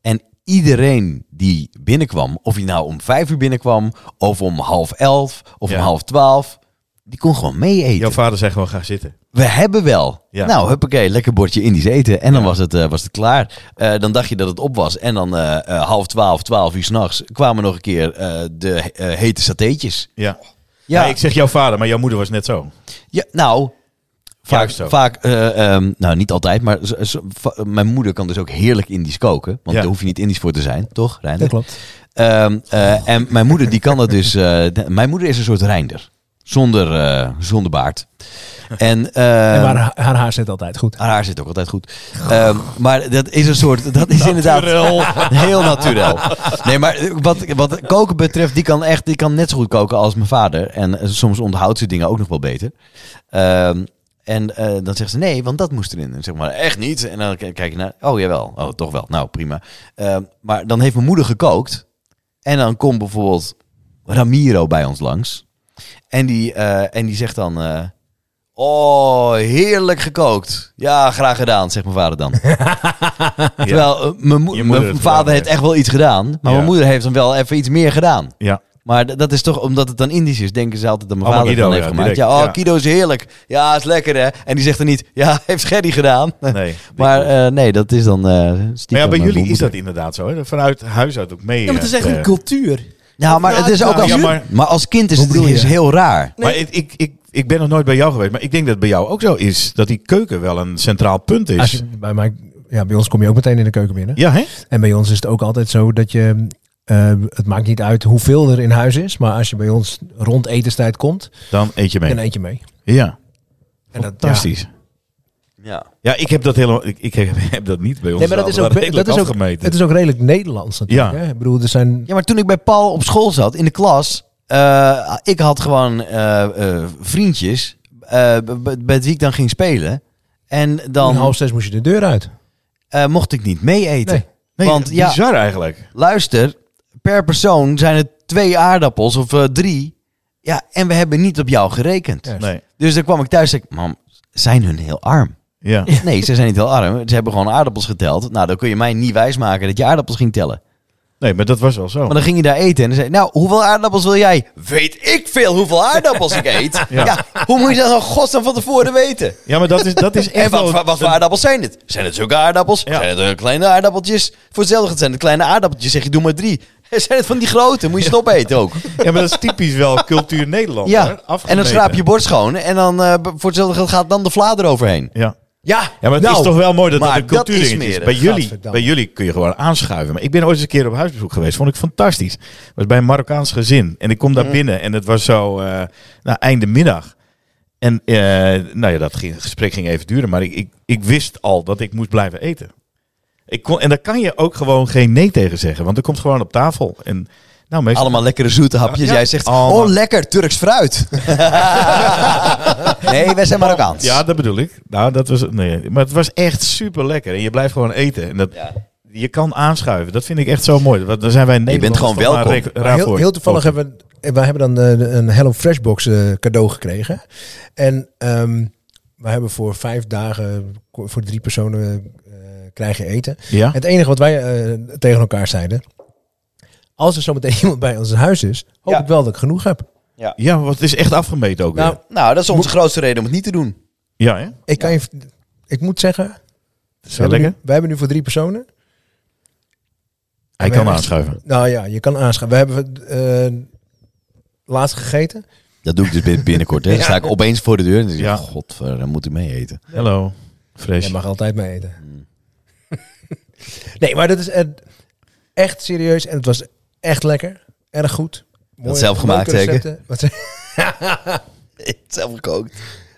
Speaker 1: En iedereen die binnenkwam. Of hij nou om vijf uur binnenkwam. Of om half elf. Of
Speaker 2: Ja.
Speaker 1: om half twaalf. Die kon gewoon mee eten.
Speaker 2: Jouw vader zegt gewoon, ga zitten.
Speaker 1: We hebben wel.
Speaker 2: Ja.
Speaker 1: Nou, huppakee, lekker bordje Indisch eten. En dan
Speaker 2: Ja.
Speaker 1: was, het, eh, was het klaar. Eh, dan dacht je dat het op was. En dan eh, eh, half twaalf, twaalf uur s'nachts kwamen nog een keer eh, de eh, hete satéetjes.
Speaker 2: Ja.
Speaker 1: Ja,
Speaker 2: Nee, ik zeg jouw vader, maar jouw moeder was net zo.
Speaker 1: ja nou, vaak,
Speaker 2: Juist zo.
Speaker 1: vaak eh, ehm, nou niet altijd, maar zo- zo- va- mijn moeder kan dus ook heerlijk Indisch koken. Want
Speaker 2: Ja.
Speaker 1: daar hoef je niet Indisch voor te zijn, toch, Reinder?
Speaker 3: Dat klopt.
Speaker 1: Ehm, eh, en mijn moeder die kan dat dus. eh, de- mijn moeder is een soort Reinder. Zonder, eh, zonder baard. En, eh,
Speaker 2: Ehm,
Speaker 3: en maar haar, haar haar zit altijd goed.
Speaker 1: Haar haar zit ook altijd goed. Ehm, maar dat is een soort. Dat is inderdaad. Heel natuurlijk. Nee, maar eh, wat, wat koken betreft, die kan echt. Die kan net zo goed koken als mijn vader. En eh, soms onthoudt ze dingen ook nog wel beter. Ehm, en eh, dan zegt ze nee, want dat moest erin. En zeg maar echt niet. En dan k- kijk je naar. Oh jawel. Oh toch wel. Nou prima. Ehm, maar dan heeft mijn moeder gekookt. En dan komt bijvoorbeeld Ramiro bij ons langs. En die, eh, en die zegt dan. eh, Oh, heerlijk gekookt. Ja, graag gedaan, zegt mijn vader dan. Terwijl eh, mijn, mo-
Speaker 2: Je moeder
Speaker 1: mijn
Speaker 2: het
Speaker 1: vader
Speaker 2: gedaan
Speaker 1: heeft echt wel iets gedaan, maar
Speaker 2: Ja.
Speaker 1: mijn moeder heeft dan wel even iets meer gedaan.
Speaker 2: Ja.
Speaker 1: Maar d- dat is toch, omdat het dan Indisch is, denken ze altijd dat mijn
Speaker 2: Oh, maar
Speaker 1: vader het
Speaker 2: Guido,
Speaker 1: dan heeft gemaakt.
Speaker 2: ja, direct,
Speaker 1: ja, oh,
Speaker 2: ja.
Speaker 1: Kido is heerlijk. Ja, is lekker hè. En die zegt dan niet, ja, heeft Gerry gedaan.
Speaker 2: Nee.
Speaker 1: maar eh, nee, dat is dan eh stiekem
Speaker 2: Maar ja, bij
Speaker 1: mijn
Speaker 2: jullie is
Speaker 1: moeder.
Speaker 2: dat inderdaad zo. Hè? Vanuit huis uit ook mee.
Speaker 5: Ja, maar het is
Speaker 2: eh,
Speaker 5: echt een
Speaker 2: eh,
Speaker 5: cultuur.
Speaker 1: Nou, maar het is ook
Speaker 5: Ja,
Speaker 1: als,
Speaker 2: ja, maar-
Speaker 1: maar als kind is
Speaker 3: Hoe
Speaker 1: het
Speaker 3: bedoel je?
Speaker 1: is heel raar.
Speaker 5: Nee.
Speaker 2: Maar ik, ik, ik, ik ben nog nooit bij jou geweest, maar ik denk dat het bij jou ook zo is. Dat die keuken wel een centraal punt
Speaker 3: Als
Speaker 2: is.
Speaker 3: je- bij, mij, ja, bij ons kom je ook meteen in de keuken binnen.
Speaker 2: Ja, hè?
Speaker 3: En bij ons is het ook altijd zo dat je... eh, het maakt niet uit hoeveel er in huis is. Maar als je bij ons rond etenstijd komt,
Speaker 2: Dan eet je mee.
Speaker 3: dan eet je mee.
Speaker 2: Ja,
Speaker 3: En dat, ja.
Speaker 2: fantastisch. Ja.
Speaker 1: Ja.
Speaker 2: ik heb dat helemaal... Ik, ik heb, heb dat niet bij ons.
Speaker 3: Nee, maar dat is ook, dat is ook, het is ook redelijk Nederlands natuurlijk.
Speaker 2: Ja.
Speaker 3: Hè? Ik bedoel, er zijn...
Speaker 1: Ja, maar toen ik bij Paul op school zat, in de klas, eh, ik had gewoon eh, eh, vriendjes eh, b- b- bij wie ik dan ging spelen. En
Speaker 3: Dan,
Speaker 1: dan
Speaker 3: half zes moest je de deur uit.
Speaker 1: eh, mocht ik niet mee eten.
Speaker 3: Nee.
Speaker 2: nee,
Speaker 1: want ja-
Speaker 2: bizar eigenlijk.
Speaker 1: Luister, per persoon zijn het twee aardappels of eh, drie. Ja, en we hebben niet op jou gerekend.
Speaker 3: Ja.
Speaker 2: Nee,
Speaker 1: Dus dan kwam ik thuis en zei ik, mam, zijn hun heel arm?
Speaker 2: ja.
Speaker 1: Nee, ze zijn niet heel arm. Ze hebben gewoon aardappels geteld. Nou, dan kun je mij niet wijsmaken dat je aardappels ging tellen.
Speaker 2: Nee, maar dat was wel zo.
Speaker 1: Maar dan ging je daar eten en dan zei hij, nou, hoeveel aardappels wil jij? Weet ik veel hoeveel aardappels ik eet? ja.
Speaker 2: Ja.
Speaker 1: hoe moet je dat nou godsnaam van tevoren weten?
Speaker 2: Ja, maar dat is, dat is
Speaker 1: En
Speaker 2: echt
Speaker 1: wat,
Speaker 2: wel...
Speaker 1: wat, wat voor aardappels zijn dit? Zijn het zulke aardappels?
Speaker 2: Ja.
Speaker 1: Zijn het eh, kleine aardappeltjes? Voor hetzelfde geld zijn het kleine aardappeltjes. Zeg je, doe maar drie. Zijn het van die grote? Moet je stop eten ook.
Speaker 2: Ja, maar dat is typisch wel cultuur Nederland. hoor.
Speaker 1: Ja, en dan
Speaker 2: Afgemeten.
Speaker 1: schraap je bord schoon. En dan eh, voor hetzelfde geld gaat dan de vlader overheen.
Speaker 2: Ja.
Speaker 1: Ja,
Speaker 2: Ja, maar het is toch wel mooi dat dat een cultuur
Speaker 1: is
Speaker 2: ding is.
Speaker 1: smerig.
Speaker 2: Bij jullie,
Speaker 3: Gadverdamme.
Speaker 2: bij jullie kun je gewoon aanschuiven. Maar ik ben ooit eens een keer op huisbezoek geweest. Vond ik fantastisch. was bij een Marokkaans gezin. En ik kom daar binnen en het was zo eh nou, einde middag. En eh, nou ja, dat ging, het gesprek ging even duren. Maar ik, ik, ik wist al dat ik moest blijven eten. Ik kon, en daar kan je ook gewoon geen nee tegen zeggen, want er komt gewoon op tafel. En, nou, meestal...
Speaker 1: Allemaal lekkere zoete hapjes.
Speaker 2: Ja.
Speaker 1: Jij zegt,
Speaker 2: Allemaal.
Speaker 1: oh lekker, Turks fruit. nee, wij zijn Marokkaans.
Speaker 2: Ja, dat bedoel ik. Nou, dat was, nee, maar het was echt super lekker. En je blijft gewoon eten. En dat,
Speaker 1: Ja.
Speaker 2: Je kan aanschuiven. Dat vind ik echt zo mooi. Want dan zijn wij in
Speaker 1: bent
Speaker 2: Nederland
Speaker 1: gewoon
Speaker 2: toch maar
Speaker 1: welkom.
Speaker 2: ra-
Speaker 3: Maar
Speaker 2: raar
Speaker 3: heel,
Speaker 2: voor.
Speaker 3: heel toevallig
Speaker 2: Ook.
Speaker 3: hebben we wij hebben dan eh, een Hello Fresh box eh, cadeau gekregen. En ehm we hebben voor vijf dagen, ko- voor drie personen eh krijg je eten.
Speaker 2: Ja?
Speaker 3: Het enige wat wij eh, tegen elkaar zeiden, als er zometeen iemand bij ons in huis is, hoop
Speaker 1: Ja.
Speaker 3: ik wel dat ik genoeg heb.
Speaker 2: ja, want het is echt afgemeten ook
Speaker 3: Nou,
Speaker 2: weer.
Speaker 1: Nou, dat is onze grootste reden om het niet te doen.
Speaker 2: Ja, hè?
Speaker 3: ik, kan je, ik moet zeggen,
Speaker 2: Is
Speaker 3: we
Speaker 2: wel
Speaker 3: hebben, nu,
Speaker 2: lekker?
Speaker 3: we hebben nu voor drie personen
Speaker 2: Hij kan
Speaker 3: we hebben-
Speaker 2: aanschuiven.
Speaker 3: Nou ja, je kan aanschrijven. We hebben eh, laatst gegeten.
Speaker 1: Dat doe ik dus bin- binnenkort. Hè. Dan sta ik opeens voor de deur en dan denk
Speaker 2: Ja.
Speaker 1: ik, godver, dan moet ik mee eten.
Speaker 2: Hallo. Fresh.
Speaker 3: Je mag altijd mee eten.
Speaker 1: Mm.
Speaker 3: nee, maar dat is eh, echt serieus. En het was echt lekker. Erg goed. Mooie-
Speaker 1: zelf gemaakt,
Speaker 3: leuke
Speaker 1: zeker?
Speaker 3: recepten. Wat zeg-
Speaker 1: Zelf gekookt.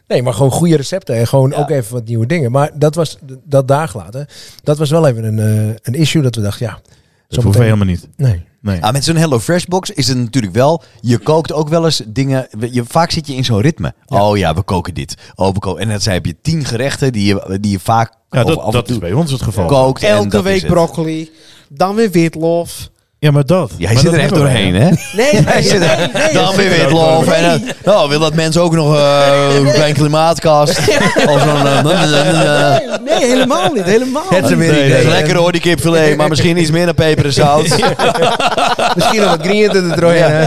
Speaker 3: Nee, maar gewoon goede recepten. En gewoon
Speaker 1: Ja.
Speaker 3: ook even wat nieuwe dingen. Maar dat was dat daar gelaten. Dat was wel even een, eh, een issue dat we dachten, ja.
Speaker 2: dat hoeven we helemaal niet.
Speaker 3: Nee.
Speaker 2: Nee.
Speaker 1: Ah, met zo'n Hello Fresh box is het natuurlijk wel. Je kookt ook wel eens dingen. we- Je, vaak zit je in zo'n ritme. Oh ja, we koken dit. Oh, we koken. En dan zijn- heb je tien gerechten die je, die je vaak
Speaker 2: ja,
Speaker 1: of
Speaker 2: dat,
Speaker 1: oh, af en
Speaker 2: dat
Speaker 1: toe
Speaker 2: is bij ons het geval.
Speaker 1: kookt. en
Speaker 5: Elke
Speaker 1: dat is
Speaker 5: week
Speaker 1: het.
Speaker 5: broccoli. Dan weer witlof.
Speaker 2: Ja, maar dat.
Speaker 1: Jij
Speaker 2: maar
Speaker 1: zit
Speaker 2: dat
Speaker 1: er echt
Speaker 2: hebben wij,
Speaker 1: doorheen,
Speaker 2: hè?
Speaker 1: hè?
Speaker 5: Nee, nee,
Speaker 1: Jij
Speaker 5: nee,
Speaker 1: zit er-
Speaker 5: nee.
Speaker 1: Dan weer witlof. En, eh, nou, wil dat mensen ook nog eh, een klein klimaatkast? of zo'n... eh,
Speaker 5: Nee, nee, helemaal niet. Helemaal
Speaker 1: Het is
Speaker 5: niet.
Speaker 1: weer
Speaker 2: Nee, nee.
Speaker 1: Lekker hoor, die kipfilet. Maar misschien iets meer naar peper en zout.
Speaker 3: Misschien nog wat grient er doorheen. hè?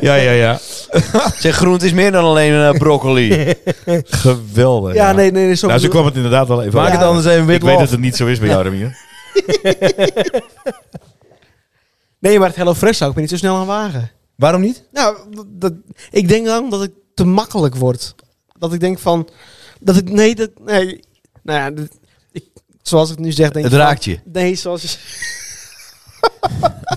Speaker 2: Ja, ja, ja.
Speaker 1: Zeg, groente is meer dan alleen eh, broccoli.
Speaker 2: Geweldig.
Speaker 5: Ja, nee, nee. nee zo
Speaker 2: Nou, ze
Speaker 5: bedoel-
Speaker 2: kwam het inderdaad wel even
Speaker 5: Maak
Speaker 2: uit.
Speaker 5: het anders even
Speaker 2: Ik weet
Speaker 5: witlof.
Speaker 2: dat het niet zo is bij jou, Ramier.
Speaker 5: Nee, maar het Hello Fresh zou ik me niet zo snel aan wagen.
Speaker 3: Waarom niet?
Speaker 5: Nou, dat- dat, ik denk dan dat het te makkelijk wordt. Dat ik denk van... Dat ik... Nee, dat... Nee. Nou ja, dat- ik, zoals ik het nu zeg, denk
Speaker 1: Het
Speaker 5: ik van-
Speaker 1: raakt je.
Speaker 5: Nee, zoals je...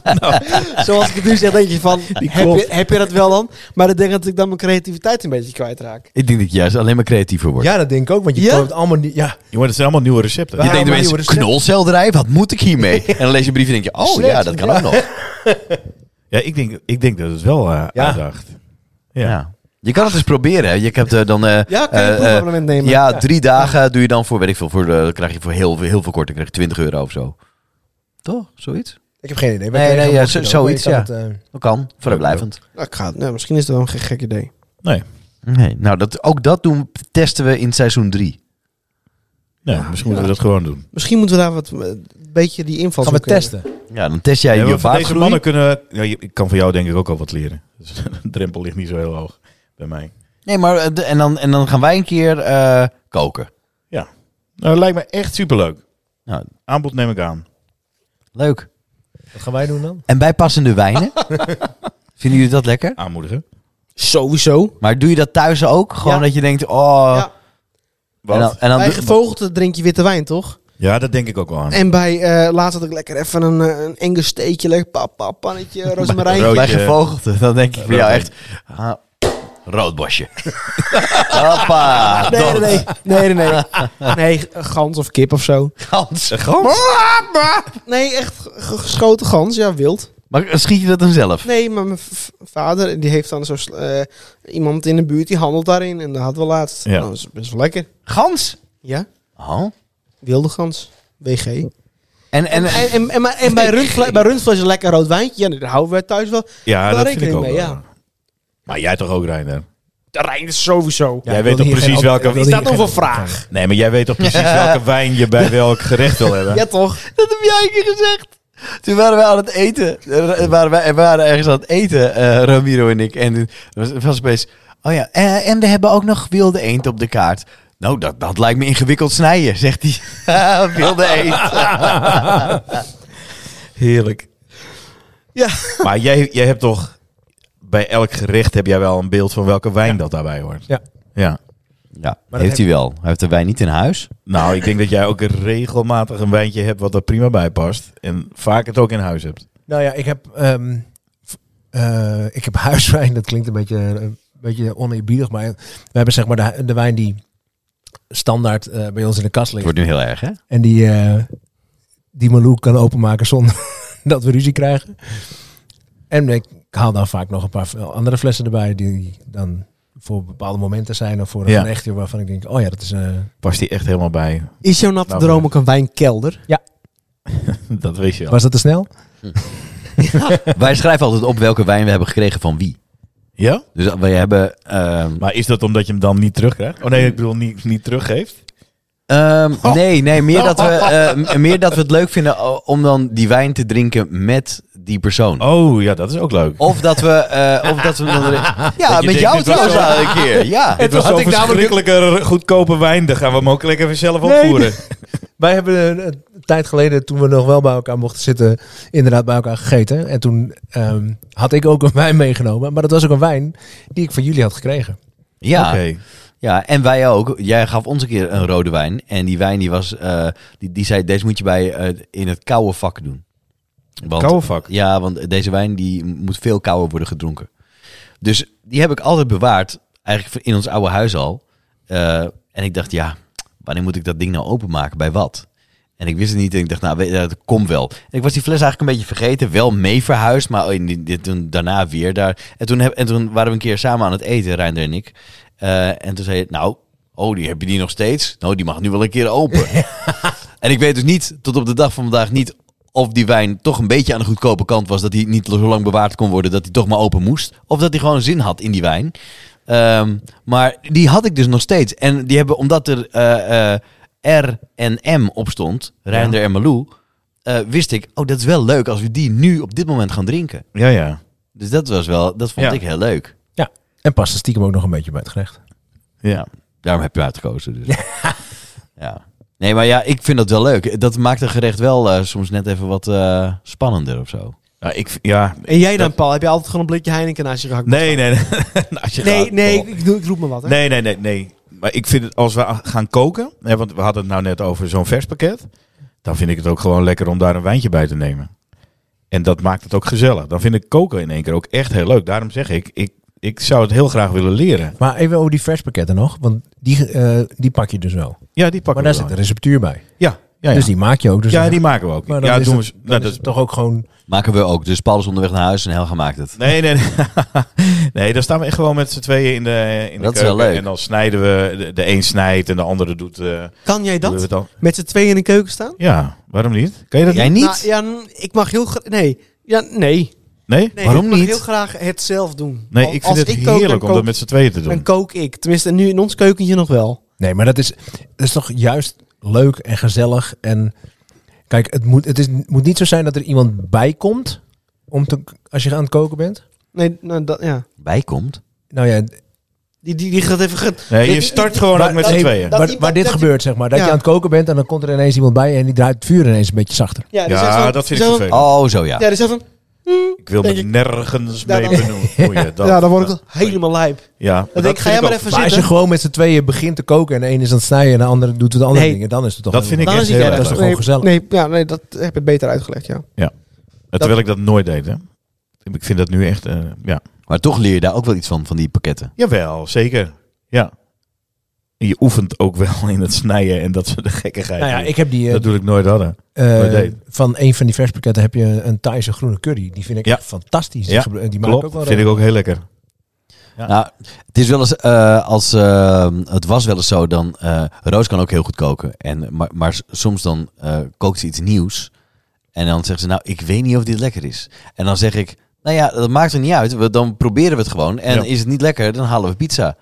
Speaker 5: Nou, Zoals ik het nu zeg, denk je van, heb je,
Speaker 2: klopt.
Speaker 5: heb je dat wel dan? Maar dan denk ik dat ik dan mijn creativiteit een beetje kwijtraak.
Speaker 1: Ik denk dat je juist alleen maar creatiever wordt.
Speaker 3: Ja, dat denk ik ook. Want je
Speaker 5: Ja?
Speaker 3: kan het allemaal niet... Ja,
Speaker 2: Jongen, dat zijn allemaal nieuwe recepten.
Speaker 1: Je denkt de
Speaker 3: maar die
Speaker 1: mensen,
Speaker 3: worden slecht.
Speaker 1: knolselderij, wat moet ik hiermee? En dan lees je brief en denk je, oh ja,
Speaker 3: Slecht,
Speaker 1: dat kan
Speaker 3: ja.
Speaker 1: ook nog.
Speaker 2: Ja, ik denk, ik denk dat het wel eh
Speaker 3: Ja.
Speaker 2: uitdaagt. Ja.
Speaker 1: Ja. Je kan het eens proberen. hè. Je hebt eh, dan... eh,
Speaker 5: Ja, kan je
Speaker 1: eh,
Speaker 5: een proefabonnement
Speaker 1: eh,
Speaker 5: nemen?
Speaker 1: Ja,
Speaker 5: Ja.
Speaker 1: drie dagen doe je dan voor, weet ik veel, voor, eh, krijg je voor heel, veel- heel veel korting, krijg je 20 euro of zo. Toch? Zoiets?
Speaker 3: ik heb geen idee.
Speaker 1: Nee, nee, ja, zo- zoiets, ja.
Speaker 3: eh,
Speaker 1: Dat kan, vrijblijvend.
Speaker 5: Nou, ik ga, het- nou, misschien is het wel een gek, gek idee.
Speaker 2: Nee.
Speaker 1: Nee, nou, dat, ook dat doen, testen we in seizoen 3.
Speaker 2: Nee, misschien moeten we dat gewoon doen.
Speaker 5: Misschien moeten we daar wat, een beetje die inval
Speaker 3: Gaan we testen.
Speaker 1: Ja, dan test jij
Speaker 2: Ja,
Speaker 1: je
Speaker 2: want voor deze mannen
Speaker 1: vaatgroei.
Speaker 2: kunnen... Ja, je- ik kan van jou denk ik ook al wat leren. Dus de drempel ligt niet zo heel hoog bij mij.
Speaker 1: Nee, maar eh, de- en dan, en dan gaan wij een keer eh, koken.
Speaker 2: Nou, dat lijkt me echt superleuk.
Speaker 1: Nou,
Speaker 2: Aanbod neem ik aan.
Speaker 1: leuk.
Speaker 3: Wat gaan wij doen dan?
Speaker 1: En bijpassende wijnen. Vinden jullie dat lekker?
Speaker 2: Aanmoedigen.
Speaker 5: Sowieso.
Speaker 1: Maar doe je dat thuis ook? Gewoon
Speaker 5: Ja.
Speaker 1: dat je denkt, oh...
Speaker 5: Ja.
Speaker 1: En dan, en dan
Speaker 5: Bij
Speaker 1: doe-
Speaker 5: gevogelte drink je witte wijn, toch?
Speaker 2: Ja, dat denk ik ook wel aan.
Speaker 5: En bij, eh laatst had ik lekker even een, eh, een enge steekje, lekker pap, pap, pannetje, rozemarijn.
Speaker 2: rood-
Speaker 1: bij
Speaker 2: roodje.
Speaker 1: gevogelte, dan denk ik voor jou echt...
Speaker 2: Roodbeen.
Speaker 1: ah, roodbosje. Hoppa.
Speaker 5: Nee, nee, nee, nee, nee, nee. Nee, een gans of kip of zo.
Speaker 1: Gans.
Speaker 5: Nee, echt ge- ge- geschoten gans, ja, wild.
Speaker 1: Maar schiet je dat dan zelf?
Speaker 5: Nee, maar mijn v- vader, die heeft dan zo sl- eh, iemand in de buurt, die handelt daarin. En dat hadden we laatst.
Speaker 2: Ja.
Speaker 5: Nou, dat is best wel lekker.
Speaker 1: Gans.
Speaker 5: Ja,
Speaker 1: Oh.
Speaker 5: wilde gans. WG. En,
Speaker 1: En, eh, en,
Speaker 5: en, en, maar- en bij, rundvle bij rundvlees een lekker rood wijntje. Ja, daar houden we thuis wel.
Speaker 2: Ja,
Speaker 5: Daar
Speaker 2: dat vind
Speaker 5: rekening
Speaker 2: ik ook
Speaker 5: mee,
Speaker 2: wel.
Speaker 5: ja.
Speaker 2: Maar jij toch ook, Reiner?
Speaker 5: De Rijn is sowieso.
Speaker 2: jij weet toch precies welke...
Speaker 5: Is dat nog voor vraag?
Speaker 2: Nee, maar jij weet toch precies welke wijn je bij welk gerecht wil hebben?
Speaker 5: Ja, toch?
Speaker 1: Dat heb jij een keer gezegd. Toen waren we aan het eten. Eh, Waren wij, we waren ergens aan het eten, eh, Ramiro en ik. En toen was, was opeens... Oh ja, eh, en we hebben ook nog wilde eend op de kaart. Nou, dat, dat lijkt me ingewikkeld snijden, zegt hij. wilde eend.
Speaker 2: Heerlijk.
Speaker 5: Ja.
Speaker 2: Maar jij, jij hebt toch... Bij elk gerecht heb jij wel een beeld van welke wijn dat daarbij hoort.
Speaker 3: Ja.
Speaker 2: Ja.
Speaker 1: Ja,
Speaker 3: dat
Speaker 1: heeft
Speaker 3: heeft
Speaker 1: hij wel. Hij heeft de wijn niet in huis.
Speaker 2: Nou, ik denk dat jij ook regelmatig een wijntje hebt wat er prima bij past. En vaak het ook in huis hebt.
Speaker 3: Nou ja, ik heb, ehm, v- eh, ik heb huiswijn. Dat klinkt een beetje, eh, een beetje oneerbiedig. Maar we hebben zeg maar de, de wijn die standaard eh, bij ons in de kast
Speaker 1: Het
Speaker 3: ligt.
Speaker 1: wordt nu heel erg, hè?
Speaker 3: En die, eh, die Malou kan openmaken zonder dat we ruzie krijgen. En ik haal dan vaak nog een paar andere flessen erbij die dan voor bepaalde momenten zijn of voor een
Speaker 2: Ja.
Speaker 3: echtje waarvan ik denk, oh ja, dat is... eh,
Speaker 2: Past die echt helemaal bij?
Speaker 5: Is jouw natte
Speaker 2: Nou,
Speaker 5: droom ook een wijnkelder?
Speaker 2: Dat weet je al.
Speaker 3: Was dat te snel?
Speaker 1: Wij schrijven altijd op welke wijn we hebben gekregen van wie.
Speaker 2: Ja?
Speaker 1: Dus wij hebben... ehm,
Speaker 2: Maar is dat omdat je hem dan niet terugkrijgt? Oh nee, ik bedoel niet, niet teruggeeft.
Speaker 1: Ehm, nee, nee meer, dat we, eh, m- meer dat we het leuk vinden o- om dan die wijn te drinken met die persoon.
Speaker 2: Oh ja, dat is ook leuk.
Speaker 1: Of dat we... eh, of dat we dan ja,
Speaker 2: denkt,
Speaker 1: met
Speaker 2: dit
Speaker 1: jou
Speaker 2: was wel
Speaker 1: trouwens
Speaker 2: zo-
Speaker 1: al een keer. Ja.
Speaker 2: Het was
Speaker 3: had
Speaker 2: zo'n
Speaker 3: ik namelijk-
Speaker 2: verschrikkelijke goedkope wijn. Daar gaan we hem ook lekker even zelf
Speaker 3: Nee.
Speaker 2: opvoeren.
Speaker 3: Wij hebben eh, een, tijd geleden, toen we nog wel bij elkaar mochten zitten, inderdaad bij elkaar gegeten. En toen ehm, had ik ook een wijn meegenomen. Maar dat was ook een wijn die ik van jullie had gekregen.
Speaker 1: Ja,
Speaker 2: Oké.
Speaker 1: ja, en wij ook. Jij gaf ons een keer een rode wijn. En die wijn die was... eh, die, die zei, deze moet je bij, eh, in het koude vak doen. Want,
Speaker 2: Koude vak.
Speaker 1: Ja, want deze wijn die moet veel kouder worden gedronken. Dus die heb ik altijd bewaard, eigenlijk in ons oude huis al. Eh, en ik dacht, ja, wanneer moet ik dat ding nou openmaken? Bij wat? En ik wist het niet en ik dacht, nou, weet je, dat komt wel. En ik was die fles eigenlijk een beetje vergeten. Wel mee verhuisd, maar in die- die- toen, daarna weer daar. En toen, heb, en toen waren we een keer samen aan het eten, Reinder en ik. Eh, en toen zei je, nou, oh, die heb je die nog steeds? Nou, die mag nu wel een keer open. En ik weet dus niet, tot op de dag van vandaag niet, of die wijn toch een beetje aan de goedkope kant was. Dat hij niet zo lang bewaard kon worden, dat hij toch maar open moest. Of dat hij gewoon zin had in die wijn. Ehm, maar die had ik dus nog steeds. En die hebben, omdat er eh, eh, R en M op stond, Reinder en Malou, eh, wist ik, oh, dat is wel leuk als we die nu op dit moment gaan drinken.
Speaker 2: Ja, ja.
Speaker 1: Dus dat was wel, dat vond
Speaker 2: Ja.
Speaker 1: ik heel leuk.
Speaker 3: En past er stiekem ook nog een beetje bij het gerecht.
Speaker 2: Ja.
Speaker 1: Daarom heb je uitgekozen. Dus. ja. Nee, maar ja, ik vind dat wel leuk. Dat maakt een gerecht wel eh, soms net even wat eh, spannender of zo.
Speaker 2: Nou, ik, ja.
Speaker 5: En jij dan, Paul? Heb je altijd gewoon een blikje Heineken naast je gehakt?
Speaker 2: Nee, nee, nee. Nou, als je
Speaker 5: nee,
Speaker 2: gaat-
Speaker 5: nee,
Speaker 2: oh.
Speaker 5: ik, ik doe- ik roep me wat. Hè?
Speaker 2: Nee, nee, nee, nee. Maar ik vind het, als we a- gaan koken, hè, want we hadden het nou net over zo'n verspakket, dan vind ik het ook gewoon lekker om daar een wijntje bij te nemen. En dat maakt het ook gezellig. Dan vind ik koken in één keer ook echt heel leuk. Daarom zeg ik, ik, ik zou het heel graag willen leren.
Speaker 3: Maar even over die verspakketten nog, want die, eh, die pak je dus wel.
Speaker 2: Ja, die
Speaker 3: maar
Speaker 2: pakken
Speaker 3: daar
Speaker 2: we
Speaker 3: zit een
Speaker 2: wel.
Speaker 3: receptuur bij.
Speaker 2: Ja, ja, ja.
Speaker 3: Dus die maak je ook. Dus
Speaker 2: ja,
Speaker 3: dan-
Speaker 2: die maken we ook.
Speaker 3: maar dan
Speaker 2: ja,
Speaker 3: is
Speaker 2: doen
Speaker 3: het,
Speaker 2: we, s-
Speaker 3: dan
Speaker 2: nou,
Speaker 3: is
Speaker 2: dat,
Speaker 3: het toch ook gewoon...
Speaker 1: Maken we ook. Dus Paul is onderweg naar huis en Helga maakt het.
Speaker 2: Nee, nee, nee. nee, daar staan we echt gewoon met z'n tweeën in de, in de
Speaker 1: Dat is
Speaker 2: keuken.
Speaker 1: wel leuk.
Speaker 2: En dan snijden we, de, de een snijdt en de andere doet... eh,
Speaker 5: Kan jij
Speaker 2: doen we
Speaker 5: dat?
Speaker 2: het dan.
Speaker 5: Met z'n tweeën in de keuken staan?
Speaker 2: Ja, waarom niet? Kan je dat
Speaker 1: Jij
Speaker 2: niet?
Speaker 1: niet?
Speaker 5: Nou, ja, n- ik mag heel graag... Nee. Ja, nee.
Speaker 2: Nee?
Speaker 5: nee
Speaker 1: Waarom
Speaker 5: ik mag
Speaker 1: niet?
Speaker 5: heel graag het zelf doen.
Speaker 2: Nee,
Speaker 5: Al-
Speaker 2: ik vind
Speaker 5: als
Speaker 2: het
Speaker 5: kook,
Speaker 2: heerlijk
Speaker 5: dan
Speaker 2: om dat
Speaker 5: kook-
Speaker 2: met z'n tweeën te
Speaker 5: Dan
Speaker 2: doen.
Speaker 5: kook ik. Tenminste, nu in ons keukentje nog wel.
Speaker 3: Nee, maar dat is, dat is toch juist leuk en gezellig. En kijk, het moet, het is, moet niet zo zijn dat er iemand bij komt om te, als je aan het koken bent.
Speaker 5: Nee, nou, dat, ja.
Speaker 1: Bijkomt.
Speaker 3: Nou ja,
Speaker 5: Die, die, die gaat even... ge-
Speaker 2: Nee, je start gewoon ook met z'n
Speaker 3: nee,
Speaker 2: tweeën.
Speaker 3: waar,
Speaker 5: iemand-
Speaker 3: waar dit
Speaker 5: dat-
Speaker 3: gebeurt, zeg maar. Dat
Speaker 5: Ja.
Speaker 3: je aan het koken bent en dan komt er ineens iemand bij en die draait het vuur ineens een beetje zachter.
Speaker 5: Ja, die zegt
Speaker 2: Ja,
Speaker 5: zo-
Speaker 2: dat vind ik
Speaker 5: die zegt zo-
Speaker 2: vervelend.
Speaker 1: Oh, zo ja.
Speaker 5: Ja, die zegt van...
Speaker 2: Ik wil
Speaker 5: denk
Speaker 2: me
Speaker 5: ik-
Speaker 2: nergens
Speaker 5: Ja,
Speaker 2: mee
Speaker 5: dan-
Speaker 2: benoemen.
Speaker 5: ja, dan word ik helemaal lijp.
Speaker 2: Ja, maar
Speaker 5: Dan denk ik, ga jij
Speaker 2: vind
Speaker 5: maar
Speaker 2: ook-
Speaker 5: even
Speaker 3: Maar als je
Speaker 5: zitten.
Speaker 3: gewoon met z'n tweeën begint te koken en de ene is aan het snijden en de andere doet het andere
Speaker 5: Nee.
Speaker 3: dingen, dan is het toch...
Speaker 2: Dat vind ik
Speaker 5: Dan
Speaker 2: echt
Speaker 5: is
Speaker 2: heel
Speaker 5: hij
Speaker 2: erg
Speaker 5: verder.
Speaker 3: Dat is
Speaker 2: leuk.
Speaker 3: gewoon gezellig.
Speaker 5: Nee, ja, nee, dat heb je beter uitgelegd, ja.
Speaker 2: Terwijl ik dat nooit deed, hè. Ik vind dat nu echt... eh, ja.
Speaker 1: Maar toch leer je daar ook wel iets van, van die pakketten.
Speaker 2: Jawel, zeker. Ja. En Je oefent ook wel in het snijden en dat soort gekkigheid.
Speaker 3: Nou ja, ik heb die... eh,
Speaker 2: Dat doe ik nooit hadden.
Speaker 3: eh,
Speaker 2: nooit deed.
Speaker 3: van een van die verspakketten heb je een Thaise groene curry. Die vind ik
Speaker 2: Ja.
Speaker 3: echt fantastisch. Die,
Speaker 2: Ja,
Speaker 3: gebru- die maak ik ook
Speaker 2: Klopt,
Speaker 3: wel
Speaker 2: vind ik ook heel lekker.
Speaker 1: Nou, het is wel eens eh, als eh, het was wel eens zo dan eh, Roos kan ook heel goed koken en maar, maar s- soms dan eh, kookt ze iets nieuws en dan zegt ze nou ik weet niet of dit lekker is en dan zeg ik nou ja dat maakt er niet uit we, dan proberen we het gewoon en
Speaker 2: Ja.
Speaker 1: is het niet lekker dan halen we pizza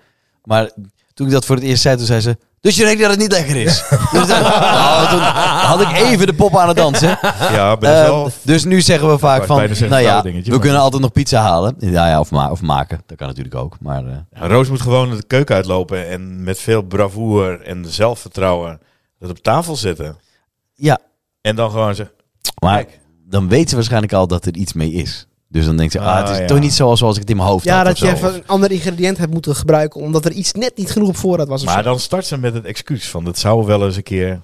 Speaker 1: maar toen ik dat voor het eerst zei toen zei ze dus je denkt dat het niet lekker is dus dan, Oh, toen had ik even de pop aan het dansen
Speaker 2: Ja, ben je
Speaker 1: Ehm,
Speaker 2: wel...
Speaker 1: dus nu zeggen we vaak
Speaker 2: wou
Speaker 1: van,
Speaker 2: bijna zeggen
Speaker 1: nou ja,
Speaker 2: flauw
Speaker 1: we
Speaker 2: dingetje, maar-
Speaker 1: kunnen altijd nog pizza halen. Ja, ja of, ma- of maken, dat kan natuurlijk ook. Maar eh,
Speaker 2: Ja, Roos moet gewoon de keuken uitlopen en met veel bravoer en zelfvertrouwen dat op tafel zetten.
Speaker 1: ja,
Speaker 2: En dan gewoon zeggen,
Speaker 1: maar dan weet ze waarschijnlijk al dat er iets mee is. Dus dan denkt ze, ah, het is
Speaker 2: Ah, ja.
Speaker 1: toch niet zoals, zoals ik het in mijn hoofd
Speaker 5: Ja,
Speaker 1: had.
Speaker 5: dat
Speaker 1: of
Speaker 5: je
Speaker 1: zo.
Speaker 5: even een ander ingrediënt hebt moeten gebruiken... omdat er iets net niet genoeg op voorraad was. of zo.
Speaker 2: Maar dan start ze met het excuus van dat zou wel eens een keer.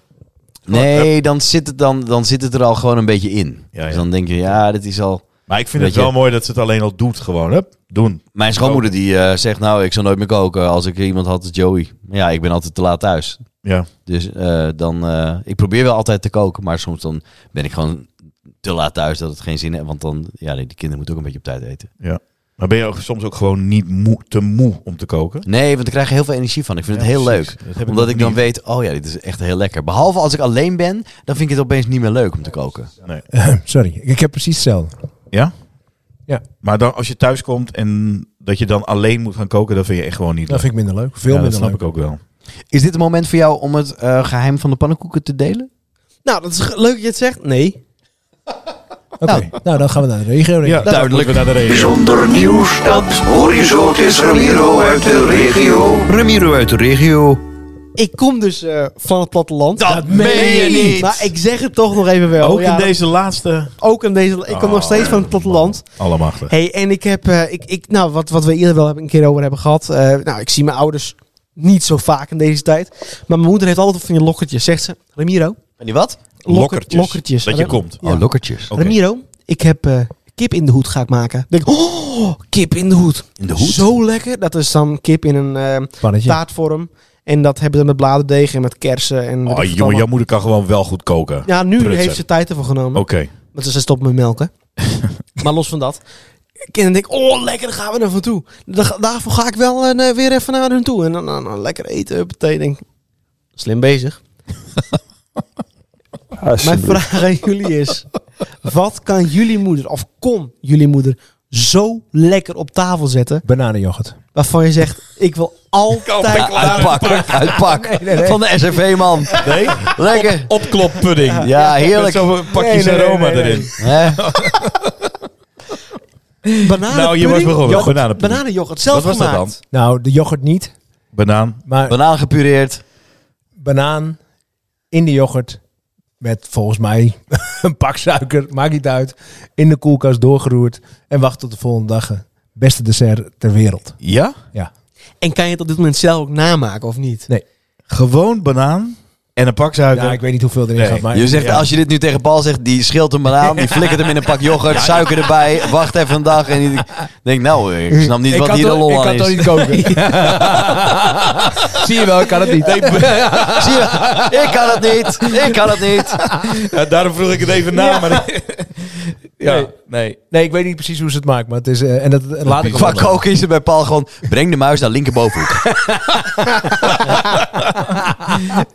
Speaker 1: Nee, dan zit, het dan, dan zit het er al gewoon een beetje in.
Speaker 2: Ja, ja.
Speaker 1: Dus dan denk je, ja, dit is al...
Speaker 2: Maar ik vind
Speaker 1: Weet
Speaker 2: het wel
Speaker 1: je-
Speaker 2: mooi dat ze het alleen al doet. Gewoon, hup, doen.
Speaker 1: Mijn schoonmoeder die eh, zegt, nou, ik zou nooit meer koken als ik iemand had als Joey. Ja, ik ben altijd te laat thuis.
Speaker 2: Ja.
Speaker 1: Dus eh, dan, eh, ik probeer wel altijd te koken, maar soms dan ben ik gewoon te laat thuis dat het geen zin heeft. Want dan, ja, die die kinderen moeten ook een beetje op tijd eten.
Speaker 2: Maar ben je ook soms ook gewoon niet moe, te moe om te koken?
Speaker 1: Nee, want ik krijg er heel veel energie van. Ik vind
Speaker 2: Ja,
Speaker 1: het heel
Speaker 2: precies.
Speaker 1: leuk.
Speaker 2: Dat heb
Speaker 1: Omdat
Speaker 2: nog
Speaker 1: ik dan
Speaker 2: niet.
Speaker 1: weet, oh ja, dit is echt heel lekker. Behalve als ik alleen ben, dan vind ik het opeens niet meer leuk om te koken.
Speaker 3: Sorry, ik heb precies hetzelfde.
Speaker 2: Ja?
Speaker 3: Ja.
Speaker 2: Maar dan, als je thuis komt en dat je dan alleen moet gaan koken, dat vind je echt gewoon niet
Speaker 3: Dat
Speaker 2: leuk.
Speaker 3: vind ik minder leuk. Veel
Speaker 2: ja, dat
Speaker 3: minder
Speaker 2: snap
Speaker 3: leuk.
Speaker 2: ik ook wel.
Speaker 1: Is dit het moment voor jou om het eh, geheim van de pannenkoeken te delen?
Speaker 5: Nou, dat is ge- leuk dat je het zegt. Nee.
Speaker 3: Oké, nou dan gaan we naar de regio. denk ik.
Speaker 1: duidelijk.
Speaker 2: moeten we naar de regio.
Speaker 7: Bijzonder nieuws dat Horizon is Ramiro uit de regio.
Speaker 1: Ramiro uit de regio.
Speaker 5: Ik kom dus eh, van het platteland.
Speaker 1: Dat meen je niet.
Speaker 5: Maar ik zeg het toch nog even wel.
Speaker 2: Ook
Speaker 5: Ja,
Speaker 2: in deze Oh, laatste...
Speaker 5: Ook in deze... Ik kom nog steeds van het platteland.
Speaker 2: Allemachtig.
Speaker 5: Hey, en ik heb, eh, ik, ik, nou, wat, wat we eerder wel hebben, een keer over hebben gehad. eh, nou, ik zie mijn ouders niet zo vaak in deze tijd. Maar mijn moeder heeft altijd van je lokkertjes. Zegt ze, Ramiro,
Speaker 1: En die wat?
Speaker 5: Lokker-
Speaker 2: Lokkertjes.
Speaker 5: lokkertjes.
Speaker 2: Dat je
Speaker 5: Ja.
Speaker 2: komt.
Speaker 1: Oh, lokkertjes.
Speaker 2: Oké.
Speaker 5: Ramiro, ik heb eh, kip in de hoed ga ik maken. Denk, ik, oh, kip in de hoed.
Speaker 1: In de hoed?
Speaker 5: Zo lekker. Dat is dan kip in een eh,
Speaker 3: Pannetje.
Speaker 5: taartvorm. En dat hebben we met bladerdeeg en met kersen. En weet ik
Speaker 2: Oh,
Speaker 5: wat
Speaker 2: jongen,
Speaker 5: allemaal.
Speaker 2: jouw moeder kan gewoon wel goed koken.
Speaker 5: ja, nu
Speaker 2: prutsen.
Speaker 5: heeft ze tijd ervoor genomen.
Speaker 2: Oké.
Speaker 5: Want ze stopt met melken. maar los van dat. Kinderen denken, oh lekker, daar gaan we naar van toe. Da- daarvoor ga ik wel eh, weer even naar hun toe. En dan, dan- dan lekker eten, huppatee. Denk, slim bezig. Mijn
Speaker 6: Alsjeblieft.
Speaker 5: vraag aan jullie is, wat kan jullie moeder, of kon jullie moeder, zo lekker op tafel zetten,
Speaker 3: Bananenjoghurt.
Speaker 5: waarvan je zegt, ik wil altijd...
Speaker 1: Ah, Uitpak, uitpak. Van de SRV-man.
Speaker 2: Nee?
Speaker 1: Lekker.
Speaker 2: Opkloppudding.
Speaker 1: Ja,
Speaker 2: Met
Speaker 1: heerlijk.
Speaker 2: zo'n pakjes
Speaker 5: Nee, nee,
Speaker 2: aroma
Speaker 5: nee, nee,
Speaker 2: erin.
Speaker 1: Hè?
Speaker 5: Bananen
Speaker 2: Nou, je was begonnen.
Speaker 5: Bananenjoghurt,
Speaker 2: Bananenpudding.
Speaker 5: bananenjoghurt zelf
Speaker 2: Wat was dat
Speaker 5: gemaakt.
Speaker 2: dan?
Speaker 3: Nou, de yoghurt niet,
Speaker 2: Banaan.
Speaker 3: maar
Speaker 1: Banaan gepureerd.
Speaker 3: banaan in de yoghurt. Met volgens mij een pak suiker, maakt niet uit. In de koelkast doorgeroerd. En wacht tot de volgende dag. eh, Beste dessert ter wereld.
Speaker 2: Ja?
Speaker 5: En kan je het op dit moment zelf ook namaken, of niet?
Speaker 2: Gewoon banaan en een pak suiker.
Speaker 3: Ja, ik weet niet hoeveel erin
Speaker 2: Nee.
Speaker 3: gaat, maar
Speaker 1: Je zegt,
Speaker 2: Ja.
Speaker 1: als je dit nu tegen Paul zegt, die scheelt een banaan, die flikkert hem in een pak yoghurt, suiker erbij, wacht even een dag. En die denkt, nou, ik snap niet
Speaker 3: Ik
Speaker 1: wat
Speaker 3: kan
Speaker 1: hier de
Speaker 3: toch- ik
Speaker 1: lol
Speaker 3: kan
Speaker 1: aan
Speaker 3: toch
Speaker 1: is.
Speaker 3: niet koken. Zie je wel, ik kan het niet.
Speaker 1: Zie je, ik kan het niet, ik kan het niet.
Speaker 2: Ja, daarom vroeg ik het even na. Ja, maar... ja nee.
Speaker 3: Nee, ik weet niet precies hoe ze het maakt, maar het is... eh, en dat, en laat ik
Speaker 1: Qua koken is er bij Paul gewoon, breng de muis naar linkerbovenhoek.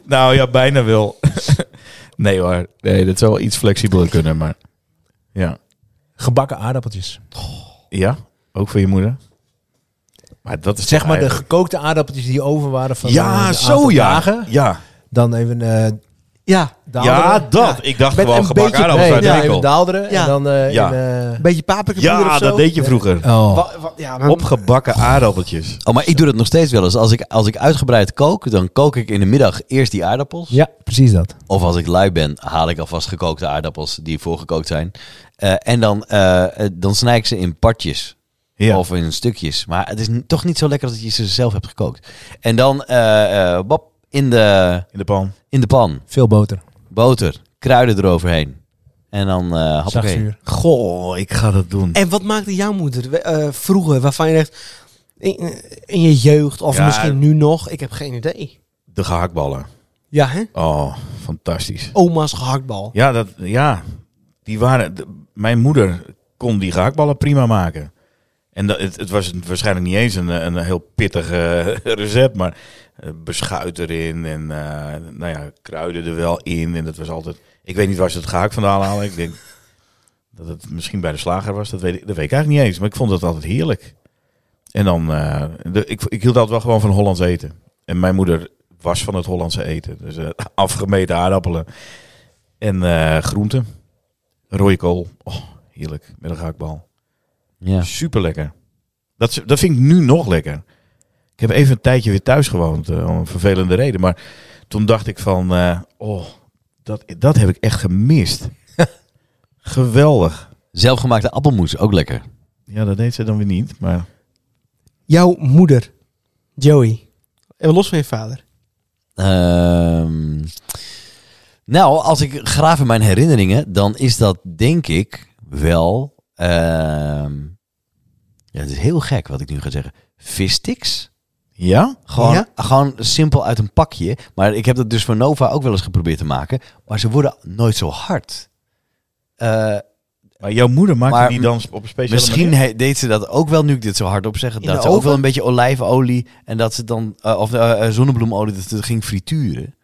Speaker 2: Nou ja, bijna wel. nee hoor. Nee, dat zou wel iets flexibeler kunnen, maar... Ja.
Speaker 3: Gebakken aardappeltjes.
Speaker 2: Ja? Ook voor je moeder? Maar dat is
Speaker 3: Zeg maar de
Speaker 2: eigenlijk-
Speaker 3: gekookte aardappeltjes die over waren van eh,
Speaker 2: Ja,
Speaker 3: een
Speaker 2: zo
Speaker 3: aantal
Speaker 2: ja.
Speaker 3: dagen.
Speaker 2: Ja,
Speaker 3: Dan even eh
Speaker 5: Ja,
Speaker 3: daalderen.
Speaker 2: ja dat. Ik dacht
Speaker 3: Met
Speaker 2: gewoon
Speaker 3: een beetje...
Speaker 2: gebakken aardappels
Speaker 3: nee,
Speaker 2: uit de
Speaker 3: ja,
Speaker 2: winkel.
Speaker 3: even daalderen
Speaker 5: Ja.
Speaker 3: en dan... eh,
Speaker 2: Ja.
Speaker 3: in, eh,
Speaker 5: een beetje paprika poeder
Speaker 2: Ja,
Speaker 5: of zo.
Speaker 2: dat deed je vroeger.
Speaker 3: oh.
Speaker 5: Wa- wa- ja, maar-
Speaker 2: Opgebakken aardappeltjes.
Speaker 1: Oh, maar ik doe dat nog steeds wel eens. Als ik, als ik uitgebreid kook, dan kook ik in de middag eerst die aardappels.
Speaker 3: Ja, precies dat.
Speaker 1: Of als ik lui ben, haal ik alvast gekookte aardappels die voorgekookt zijn. Eh, en dan, eh, eh, dan snij ik ze in partjes.
Speaker 2: Ja.
Speaker 1: Of in stukjes. Maar het is n- toch niet zo lekker als dat je ze zelf hebt gekookt. En dan eh, eh, bap, in, de,
Speaker 2: In de pan.
Speaker 1: in de pan.
Speaker 3: Veel boter.
Speaker 1: Boter. Kruiden eroverheen. En dan eh
Speaker 3: Zacht
Speaker 1: hoppakee.
Speaker 3: vuur.
Speaker 2: Goh, ik ga dat doen.
Speaker 5: En wat maakte jouw moeder we- eh, vroeger, waarvan je echt in, in je jeugd of
Speaker 2: Ja.
Speaker 5: misschien nu nog, ik heb geen idee.
Speaker 2: De gehaktballen.
Speaker 5: Ja, hè?
Speaker 2: Oh, fantastisch.
Speaker 5: Oma's gehaktbal.
Speaker 2: Ja, dat, ja. Die waren, de- mijn moeder kon die gehaktballen prima maken. En dat, het, het was waarschijnlijk niet eens een, een heel pittig eh, recept, maar eh, beschuit erin en eh, nou ja, kruiden er wel in. En dat was altijd, ik weet niet waar ze het gehakt vandaan halen. Ik denk dat het misschien bij de slager was, dat weet ik, dat weet ik eigenlijk niet eens. Maar ik vond het altijd heerlijk. En dan, eh, de, ik, ik hield altijd wel gewoon van Hollands eten. En mijn moeder was van het Hollandse eten. Dus eh, afgemeten aardappelen. En eh groenten. Rode kool. Oh, heerlijk. Met een gehaktbal.
Speaker 1: Ja.
Speaker 2: Super lekker. Dat, is- dat vind ik nu nog lekker. Ik heb even een tijdje weer thuis gewoond. eh, om een vervelende reden. Maar toen dacht ik van... eh, oh, dat, dat heb ik echt gemist. Geweldig.
Speaker 1: Zelfgemaakte appelmoes, ook lekker.
Speaker 2: Ja, dat deed ze dan weer niet. Maar
Speaker 5: Jouw moeder, Joey. En los van je vader.
Speaker 1: Ehm, nou, als ik graaf in mijn herinneringen, dan is dat denk ik wel... ehm, ja, het is heel gek wat ik nu ga zeggen. Vistix?
Speaker 2: Ja?
Speaker 1: Gewoon,
Speaker 5: Ja?
Speaker 1: gewoon simpel uit een pakje. Maar ik heb dat dus voor Nova ook wel eens geprobeerd te maken. Maar ze worden nooit zo hard. Eh,
Speaker 2: Maar jouw moeder maakte
Speaker 1: Maar
Speaker 2: die dan op een speciale
Speaker 1: misschien
Speaker 2: manier?
Speaker 1: he- deed ze dat ook wel, nu ik dit zo hardop zeg.
Speaker 5: In
Speaker 1: Dat ze
Speaker 5: de
Speaker 1: ook wel
Speaker 5: oven?
Speaker 1: een beetje olijfolie en dat ze dan, eh, of eh, eh, zonnebloemolie, dat het ging frituren.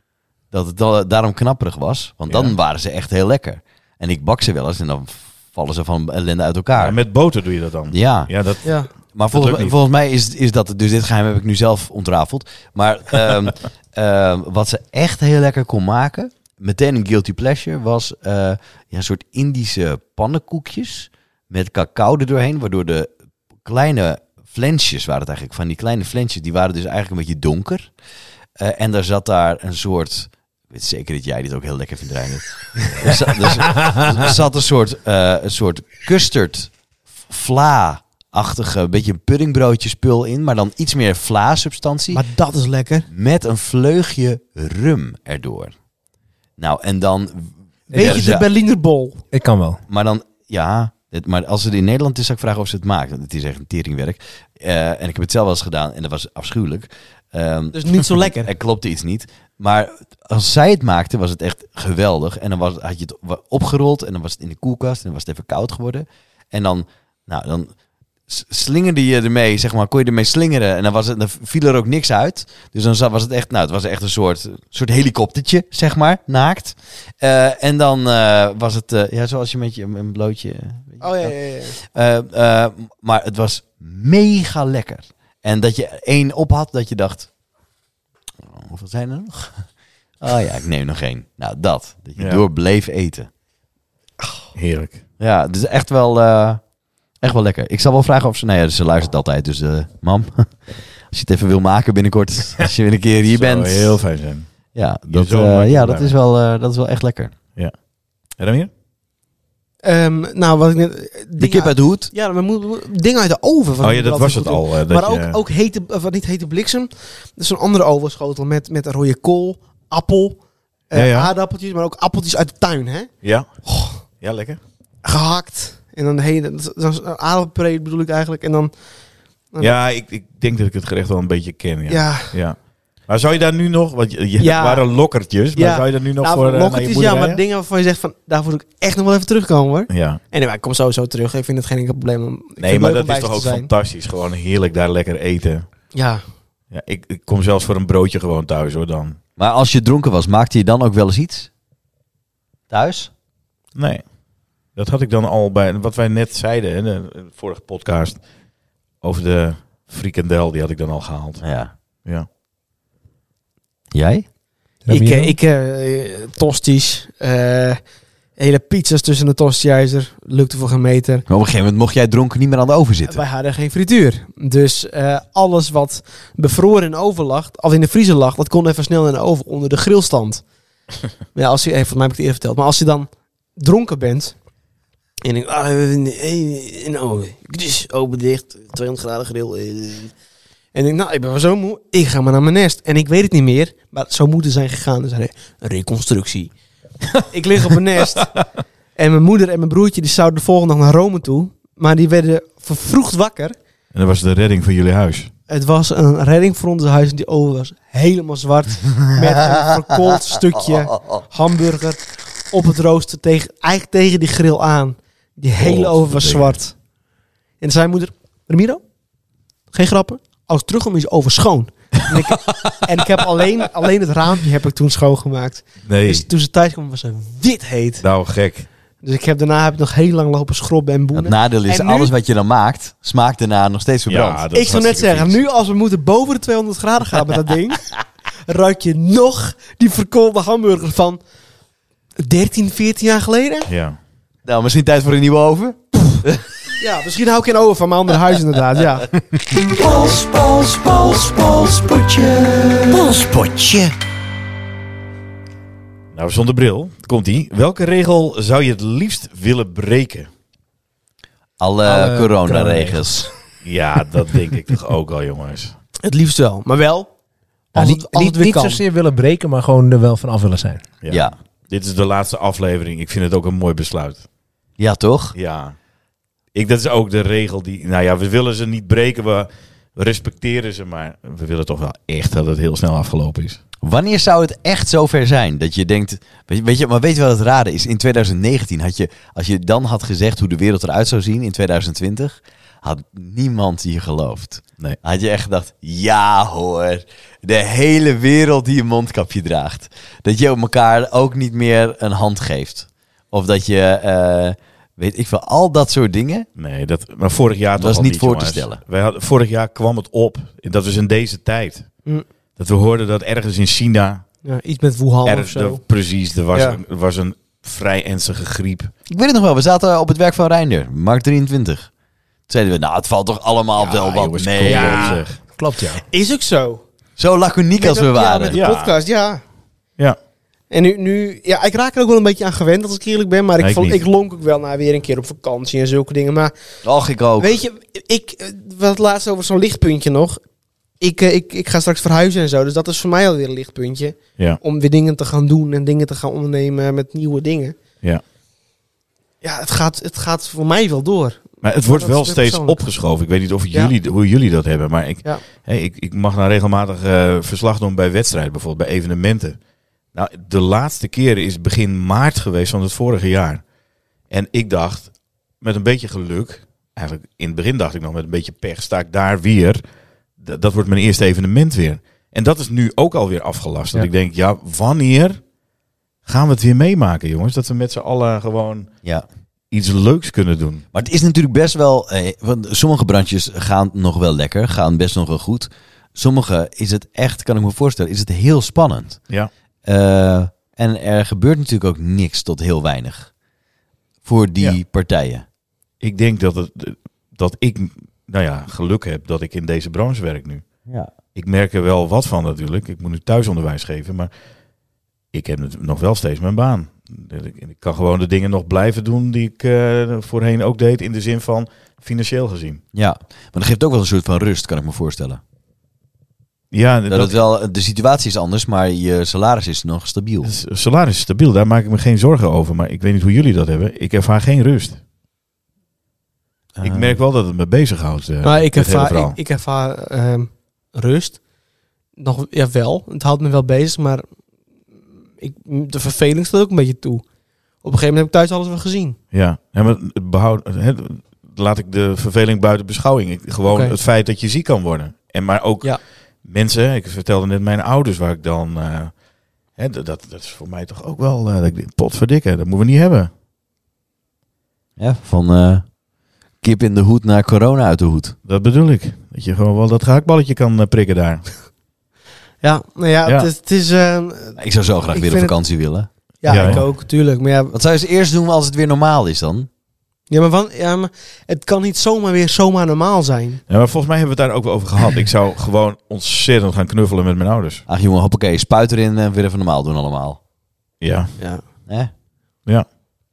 Speaker 1: Dat het da- daarom knapperig was. Want dan
Speaker 2: Ja.
Speaker 1: waren ze echt heel lekker. En ik bak ze wel eens en dan vallen ze van ellende uit elkaar.
Speaker 2: Ja, met boter doe je dat dan?
Speaker 1: ja.
Speaker 2: Ja, dat...
Speaker 5: Ja.
Speaker 1: Maar volgens,
Speaker 2: lukt niet.
Speaker 1: volgens mij is, is dat... het. Dus dit geheim heb ik nu zelf ontrafeld. Maar ehm, ehm, wat ze echt heel lekker kon maken... Meteen een guilty pleasure was eh, ja, een soort Indische pannenkoekjes met cacao er doorheen. Waardoor de kleine flensjes waren het eigenlijk. Van die kleine flensjes, die waren dus eigenlijk een beetje donker. Eh, en daar zat daar een soort... Ik weet zeker dat jij dit ook heel lekker vindt, Reinert. er, za- er za- er zat een soort, eh, een soort custard vla-achtige, beetje een puddingbroodje spul in, maar dan iets meer vla-substantie.
Speaker 5: Maar dat is lekker.
Speaker 1: Met een vleugje rum erdoor. Nou, en dan...
Speaker 5: Weet
Speaker 1: Ja,
Speaker 5: je,
Speaker 1: ze-
Speaker 5: de Berliner Bol.
Speaker 3: Ik kan wel.
Speaker 1: maar dan, ja. Het, maar als het in Nederland is, zou ik vragen of ze het maken. Want het is echt een teringwerk. Eh, en ik heb het zelf wel eens gedaan en dat was afschuwelijk. Ehm,
Speaker 5: Dus niet zo lekker.
Speaker 1: er klopte iets niet. Maar als zij het maakte, was het echt geweldig. En dan was, had je het wa- opgerold en dan was het in de koelkast en dan was het even koud geworden. En dan, nou, dan s- slingerde je ermee, zeg maar, kon je ermee slingeren. En dan, was het, dan viel er ook niks uit. Dus dan za- was het echt, nou, het was echt een soort, soort helikoptertje, zeg maar, naakt. Eh, en dan eh, was het, eh, ja, zoals je met je een blootje... eh, weet je,
Speaker 5: Oh ja,
Speaker 1: dat-
Speaker 5: ja, ja.
Speaker 1: eh, eh, maar het was mega lekker. En dat je er één op had, dat je dacht... "Oh, hoeveel zijn er nog? Oh ja, ik neem nog één. Nou, dat. Dat je
Speaker 2: Ja.
Speaker 1: door bleef eten.
Speaker 2: Heerlijk.
Speaker 1: Ja, dus echt wel, eh, echt wel lekker. Ik zal wel vragen of ze... Nou ja, ze luistert altijd. Dus eh, mam, als je het even wil maken binnenkort. Als je weer een keer hier
Speaker 2: Zou
Speaker 1: bent.
Speaker 2: heel fijn zijn.
Speaker 1: Ja, dat,
Speaker 2: zoon
Speaker 1: eh,
Speaker 2: maakt het
Speaker 1: ja,
Speaker 2: blij
Speaker 1: dat, is wel, eh, dat is wel echt lekker.
Speaker 2: En dan weer?
Speaker 5: Ehm, nou, wat ik net... dingen
Speaker 1: De kip uit de hoed.
Speaker 5: Ja, we moeten dingen uit de oven.
Speaker 2: Oh ja, dat was het
Speaker 5: al.
Speaker 2: al. eh, dat
Speaker 5: maar ook,
Speaker 2: je-
Speaker 5: ook hete, eh, wat niet hete bliksem. Dus een andere ovenschotel met, met rode kool, appel, eh,
Speaker 2: Ja, ja.
Speaker 5: aardappeltjes, maar ook appeltjes uit de tuin, hè?
Speaker 2: Ja. Ja, lekker.
Speaker 5: Gehakt. En dan hele, dat is- dat is een aardappelpuree bedoel ik eigenlijk. En dan,
Speaker 2: Ja, ik, ik denk dat ik het gerecht wel een beetje ken.
Speaker 5: ja,
Speaker 2: Ja. Ja. Maar zou je daar nu nog, want je, je
Speaker 5: Ja.
Speaker 2: waren lokkertjes, maar
Speaker 5: Ja.
Speaker 2: zou je daar nu nog
Speaker 5: nou,
Speaker 2: voor eh, naar je
Speaker 5: lokkertjes, ja,
Speaker 2: boerderij?
Speaker 5: maar dingen waarvan je zegt van, daar moet ik echt nog wel even terugkomen, hoor.
Speaker 2: Ja.
Speaker 5: En anyway, ik kom sowieso terug. Ik vind het geen enkel probleem. om- ik vind het
Speaker 2: Nee,
Speaker 5: leuk
Speaker 2: maar
Speaker 5: om
Speaker 2: dat
Speaker 5: bij
Speaker 2: is
Speaker 5: ze
Speaker 2: toch ook
Speaker 5: te zijn.
Speaker 2: fantastisch. Gewoon heerlijk daar lekker eten.
Speaker 5: Ja.
Speaker 2: Ja, ik, ik kom zelfs voor een broodje gewoon thuis hoor dan.
Speaker 1: Maar als je dronken was, maakte je dan ook wel eens iets? Thuis?
Speaker 2: Nee. Dat had ik dan al bij wat wij net zeiden hè, de, de vorige podcast over de frikandel, die had ik dan al gehaald.
Speaker 1: Ja.
Speaker 2: Ja.
Speaker 1: Jij?
Speaker 5: Ik,
Speaker 3: Ramiro?
Speaker 5: eh, ik eh, eh, tosties, eh, hele pizzas tussen de tostiijzer. Lukte voor geen meter.
Speaker 1: Maar op een gegeven moment mocht jij dronken niet meer aan de oven zitten.
Speaker 5: Wij hadden geen frituur. Dus eh, alles wat bevroren in de oven lag, of in de vriezer lag, dat kon even snel in de oven onder de grillstand. Maar ja, als je, eh, volgens mij heb ik het eerder verteld, maar als je dan dronken bent. En ik, ah, eh, in de- eh, in de oven. Dus open dicht, 200 graden grill. eh. En ik, nou, ik ben wel zo moe. Ik ga maar naar mijn nest. En ik weet het niet meer, maar zo moeten zijn gegaan. Dus een reconstructie. ik lig op mijn nest. En mijn moeder en mijn broertje die zouden de volgende dag naar Rome toe. Maar die werden vervroegd wakker.
Speaker 2: En dat was de redding van jullie huis.
Speaker 5: Het was een redding voor ons huis. En die oven was helemaal zwart. met een verkoold
Speaker 1: Oh,
Speaker 5: stukje hamburger op het rooster. Tegen, eigenlijk tegen die grill aan. Die hele oven was zwart. En zei moeder, Ramiro, geen grappen. Als ik terugkom is over schoon. En ik, en ik heb alleen, alleen het raampje heb ik toen schoongemaakt.
Speaker 2: Nee.
Speaker 5: Dus toen ze thuis kwam was ze wit heet.
Speaker 2: Nou gek.
Speaker 5: Dus ik heb, daarna heb ik nog heel lang lopen schrobben en boenen.
Speaker 1: Het nadeel is,
Speaker 5: En nu-
Speaker 1: alles wat je dan maakt, smaakt daarna nog steeds verbrand.
Speaker 2: Ja, dat
Speaker 5: Ik
Speaker 2: is
Speaker 5: zou net
Speaker 2: hartstikke
Speaker 5: zeggen,
Speaker 2: vies.
Speaker 5: nu als we moeten boven de 200 graden gaan met dat ding, ruik je nog die verkoolde hamburger van 13, 14 jaar geleden?
Speaker 2: Ja.
Speaker 1: Nou, misschien tijd voor een nieuwe oven?
Speaker 5: Ja, misschien hou ik in over van mijn andere huis inderdaad, ja.
Speaker 7: Pols, pols, pols, polspotje. Polspotje.
Speaker 2: Nou, zonder bril. Komt ie. Welke regel zou je het liefst willen breken?
Speaker 1: Alle,
Speaker 3: Alle
Speaker 1: coronaregels.
Speaker 2: Ja, dat denk ik toch ook al, jongens.
Speaker 5: Het liefst wel, maar wel
Speaker 3: Nou,
Speaker 5: als
Speaker 3: niet
Speaker 5: het, als het
Speaker 3: niet,
Speaker 5: weer
Speaker 3: niet
Speaker 5: kan.
Speaker 3: zozeer willen breken, maar gewoon er wel van af willen zijn.
Speaker 1: Ja.
Speaker 2: Ja.
Speaker 1: Ja.
Speaker 2: Dit is de laatste aflevering. Ik vind het ook een mooi besluit.
Speaker 1: toch?
Speaker 2: Ja. Ik, dat is ook de regel die... Nou ja, we willen ze niet breken. We, we respecteren ze, maar we willen toch wel echt dat het heel snel afgelopen is.
Speaker 1: Wanneer zou het echt zover zijn dat je denkt, weet je, weet je, maar weet je wat het rare is? In 2019 had je, als je dan had gezegd hoe de wereld eruit zou zien in 2020, had niemand hier geloofd.
Speaker 2: Nee.
Speaker 1: Had je echt gedacht, ja hoor, de hele wereld die een mondkapje draagt. Dat je elkaar ook niet meer een hand geeft. Of dat je, eh, weet ik veel, al dat soort dingen.
Speaker 2: Nee, dat, maar vorig jaar toch
Speaker 1: Dat is
Speaker 2: al
Speaker 1: niet voor te
Speaker 2: jongens.
Speaker 1: stellen.
Speaker 2: Wij hadden, vorig jaar kwam het op, dat was in deze tijd.
Speaker 5: Mm.
Speaker 2: Dat we hoorden dat ergens in China,
Speaker 5: Ja, iets met Wuhan of
Speaker 2: ergens,
Speaker 5: zo.
Speaker 2: er- precies, er was,
Speaker 5: Ja.
Speaker 2: een, er was een vrij ernstige griep.
Speaker 1: Ik weet het nog wel, we zaten op het werk van Reinder, Mark 23. Toen zeiden we, nou het valt toch allemaal wel wat
Speaker 2: Ah, jongens,
Speaker 1: mee.
Speaker 2: kom op,
Speaker 5: Ja.
Speaker 2: zeg.
Speaker 3: Klopt, ja.
Speaker 5: Is ook zo.
Speaker 1: Zo laconiek als we
Speaker 5: Ja,
Speaker 1: waren.
Speaker 5: met de
Speaker 2: Ja.
Speaker 5: podcast, ja.
Speaker 2: Ja.
Speaker 5: En nu, nu, ja, ik raak er ook wel een beetje aan gewend als ik eerlijk ben. Maar ik,
Speaker 2: Nee, ik
Speaker 5: vond,
Speaker 2: niet.
Speaker 5: ik lonk ook wel naar weer een keer op vakantie en zulke dingen. Maar
Speaker 1: Och, ik ook.
Speaker 5: Weet je, ik, eh, we hadden het laatst over zo'n lichtpuntje nog. Ik, eh, ik, ik ga straks verhuizen en zo, dus dat is voor mij alweer een lichtpuntje.
Speaker 2: Ja.
Speaker 5: Om weer dingen te gaan doen en dingen te gaan ondernemen met nieuwe dingen.
Speaker 2: Ja.
Speaker 5: Ja, het gaat, het gaat voor mij wel door.
Speaker 2: Maar het wordt
Speaker 5: dat is
Speaker 2: wel
Speaker 5: weer
Speaker 2: steeds
Speaker 5: persoonlijk.
Speaker 2: opgeschoven. Ik weet niet of
Speaker 5: Ja.
Speaker 2: jullie, hoe jullie dat hebben, maar ik,
Speaker 5: Ja.
Speaker 2: hey, ik, ik mag nou regelmatig eh, verslag doen bij wedstrijden, bijvoorbeeld bij evenementen. Nou, de laatste keer is begin maart geweest van het vorige jaar. En ik dacht, met een beetje geluk, eigenlijk in het begin dacht ik nog met een beetje pech, sta ik daar weer. D- dat wordt mijn eerste evenement weer. En dat is nu ook alweer afgelast. Dat
Speaker 3: Ja.
Speaker 2: ik denk, ja, wanneer gaan we het weer meemaken, jongens? Dat we met z'n allen gewoon
Speaker 1: Ja.
Speaker 2: iets leuks kunnen doen.
Speaker 1: Maar het is natuurlijk best wel. eh, want sommige brandjes gaan nog wel lekker, gaan best nog wel goed. Sommige is het echt, kan ik me voorstellen, is het heel spannend.
Speaker 2: Ja.
Speaker 1: Eh, en er gebeurt natuurlijk ook niks tot heel weinig voor die
Speaker 2: Ja.
Speaker 1: partijen.
Speaker 2: ik denk dat, het, dat ik, nou ja, geluk heb dat ik in deze branche werk nu.
Speaker 1: Ja.
Speaker 2: Ik merk er wel wat van natuurlijk. Ik moet nu thuisonderwijs geven, maar ik heb natuurlijk nog wel steeds mijn baan. Ik ik kan gewoon de dingen nog blijven doen die ik eh, voorheen ook deed, in de zin van financieel gezien.
Speaker 1: Ja, maar dat geeft ook wel een soort van rust, kan ik me voorstellen.
Speaker 2: Ja,
Speaker 1: Dat,
Speaker 2: dat,
Speaker 1: het wel, de situatie is anders, maar je salaris is nog stabiel.
Speaker 2: het salaris is stabiel, daar maak ik me geen zorgen over. Maar ik weet niet hoe jullie dat hebben. Ik ervaar geen rust. ik merk wel dat het me bezighoudt. eh,
Speaker 5: maar Eh. Nou, ik
Speaker 2: dit hele
Speaker 5: ervaar,
Speaker 2: verhaal.
Speaker 5: ik, ik ervaar ehm, rust. Nog, ja, wel. Het houdt me wel bezig, maar ik, de verveling staat ook een beetje toe. Op een gegeven moment heb ik thuis alles wel gezien.
Speaker 2: Ja, hè, maar het behoud, hè, laat ik de verveling buiten beschouwing. Ik- Gewoon
Speaker 5: Oké.
Speaker 2: het feit dat je ziek kan worden. En maar ook
Speaker 5: Ja.
Speaker 2: mensen, hè, ik vertelde net mijn ouders waar ik dan... eh, hè, d- dat, dat is voor mij toch ook wel... eh, dat ik denk, potverdikke, dat moeten we niet hebben.
Speaker 1: Ja, van eh, kip in de hoed naar corona uit de hoed.
Speaker 2: Dat bedoel ik. Dat je gewoon wel dat gehaktballetje kan eh, prikken daar.
Speaker 5: Ja, nou ja,
Speaker 2: Ja.
Speaker 5: het is... Het is ehm,
Speaker 1: Ik zou zo graag
Speaker 5: Ik
Speaker 1: weer op
Speaker 5: vind het-
Speaker 1: vakantie willen.
Speaker 5: ja,
Speaker 2: Ja,
Speaker 5: ik
Speaker 2: ja.
Speaker 5: ook, tuurlijk. Maar ja,
Speaker 1: Wat zou je eens eerst doen als het weer normaal is dan?
Speaker 5: Ja maar, wan- ja, maar het kan niet zomaar weer zomaar normaal zijn.
Speaker 2: Ja, maar volgens mij hebben we het daar ook wel over gehad. Ik zou gewoon ontzettend gaan knuffelen met mijn ouders.
Speaker 1: Ach jongen, hoppakee, spuit erin en weer even normaal doen allemaal.
Speaker 2: Ja.
Speaker 5: Ja.
Speaker 1: Hè?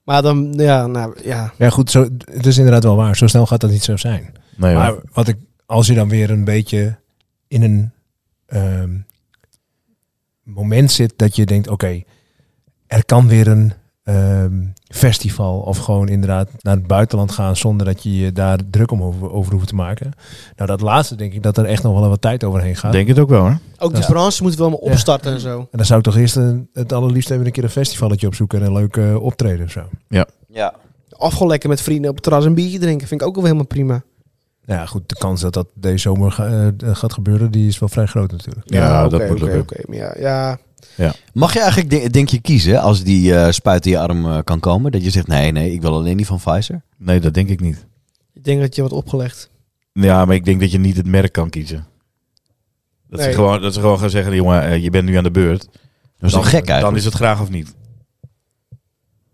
Speaker 5: Maar dan, ja, nou, ja.
Speaker 3: Ja, goed, zo, het is inderdaad wel waar. Zo snel gaat dat niet zo zijn.
Speaker 2: Nee, hoor.
Speaker 3: Maar wat ik, als je dan weer een beetje in een ehm, moment zit dat je denkt, oké, er kan weer een ehm, festival of gewoon inderdaad naar het buitenland gaan zonder dat je je daar druk om over, over hoeft te maken. Nou, dat laatste denk ik dat er echt nog wel wat tijd overheen gaat.
Speaker 2: Denk het ook wel, hè?
Speaker 5: Ook de
Speaker 3: Ja.
Speaker 5: branche moet wel maar
Speaker 3: Ja.
Speaker 5: opstarten en zo.
Speaker 3: En dan zou ik toch eerst een, het allerliefst even een keer een festivaletje opzoeken en een leuk eh, optreden of zo.
Speaker 1: Ja.
Speaker 5: Of gewoon lekker met vrienden op het terras een biertje drinken. Vind ik ook wel helemaal prima.
Speaker 3: Nou ja, goed, de kans dat dat deze zomer ga- eh, gaat gebeuren, die is wel vrij groot natuurlijk.
Speaker 2: Ja, dat
Speaker 5: oké,
Speaker 2: moet
Speaker 5: oké,
Speaker 2: lukken.
Speaker 5: oké, maar ja, ja.
Speaker 1: Mag je eigenlijk, de- denk je, kiezen als die eh, spuit in je arm eh, kan komen? Dat je zegt, nee, nee, ik wil alleen die van Pfizer.
Speaker 2: Nee, dat denk ik niet.
Speaker 5: Ik denk dat je wordt opgelegd.
Speaker 2: Ja, maar ik denk dat je niet het merk kan kiezen. Dat,
Speaker 5: Nee.
Speaker 2: ze, gewoon, dat ze gewoon gaan zeggen, jongen, eh, je bent nu aan de beurt.
Speaker 1: Dat is
Speaker 2: dan,
Speaker 1: toch gek eigenlijk?
Speaker 2: Dan is het graag of niet.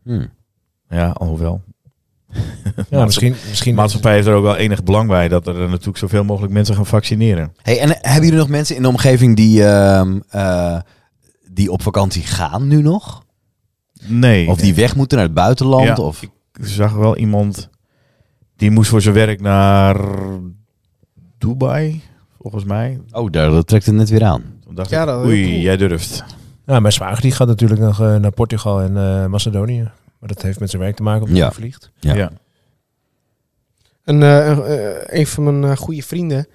Speaker 1: Hmm.
Speaker 2: Ja, alhoewel.
Speaker 3: Ja, Nou, misschien, misschien
Speaker 2: De maatschappij heeft er ook wel enig belang bij dat er natuurlijk zoveel mogelijk mensen gaan vaccineren.
Speaker 1: Hey, en hebben jullie nog mensen in de omgeving die, ehm, eh, die op vakantie gaan nu nog?
Speaker 2: Nee.
Speaker 1: Of die weg moeten naar het buitenland?
Speaker 2: Ja,
Speaker 1: of...
Speaker 2: Ik zag wel iemand die moest voor zijn werk naar Dubai, volgens mij.
Speaker 1: Oh, daar, dat trekt het net weer aan.
Speaker 2: Toen dacht
Speaker 5: Ja,
Speaker 2: ik,
Speaker 5: dat-
Speaker 2: oei, jij durft.
Speaker 3: Nou, mijn zwager die gaat natuurlijk nog eh, naar Portugal en eh, Macedonië. Maar dat heeft met zijn werk te maken, omdat
Speaker 1: Ja.
Speaker 3: hij vliegt.
Speaker 1: Ja.
Speaker 2: Ja.
Speaker 5: En, eh, eh, een van mijn eh, goede vrienden,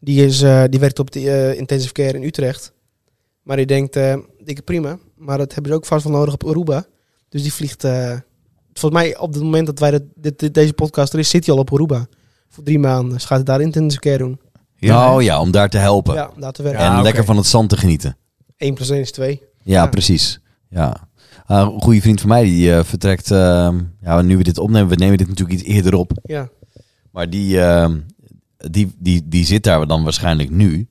Speaker 5: Die, is, eh, die werkt op de eh, intensive care in Utrecht. Maar die denkt, eh dikke prima. Maar dat hebben ze ook vast wel nodig op Aruba. Dus die vliegt... eh, volgens mij op het moment dat wij dat, dit- dit- deze podcast er is, zit hij al op Aruba. Voor drie maanden. Dus gaat hij daar intensive care doen.
Speaker 1: Nou ja, om daar te helpen.
Speaker 5: Ja, daar te
Speaker 1: En
Speaker 5: werken.
Speaker 1: lekker van het zand te genieten.
Speaker 5: 1 plus 1 is 2.
Speaker 1: Ja,
Speaker 5: Ja.
Speaker 1: precies. Ja. Eh, een goede vriend van mij die eh, vertrekt. eh, ja, nu we dit opnemen, we nemen dit natuurlijk iets eerder op.
Speaker 5: Ja.
Speaker 1: Maar die, ehm, die, die, die zit daar dan waarschijnlijk nu.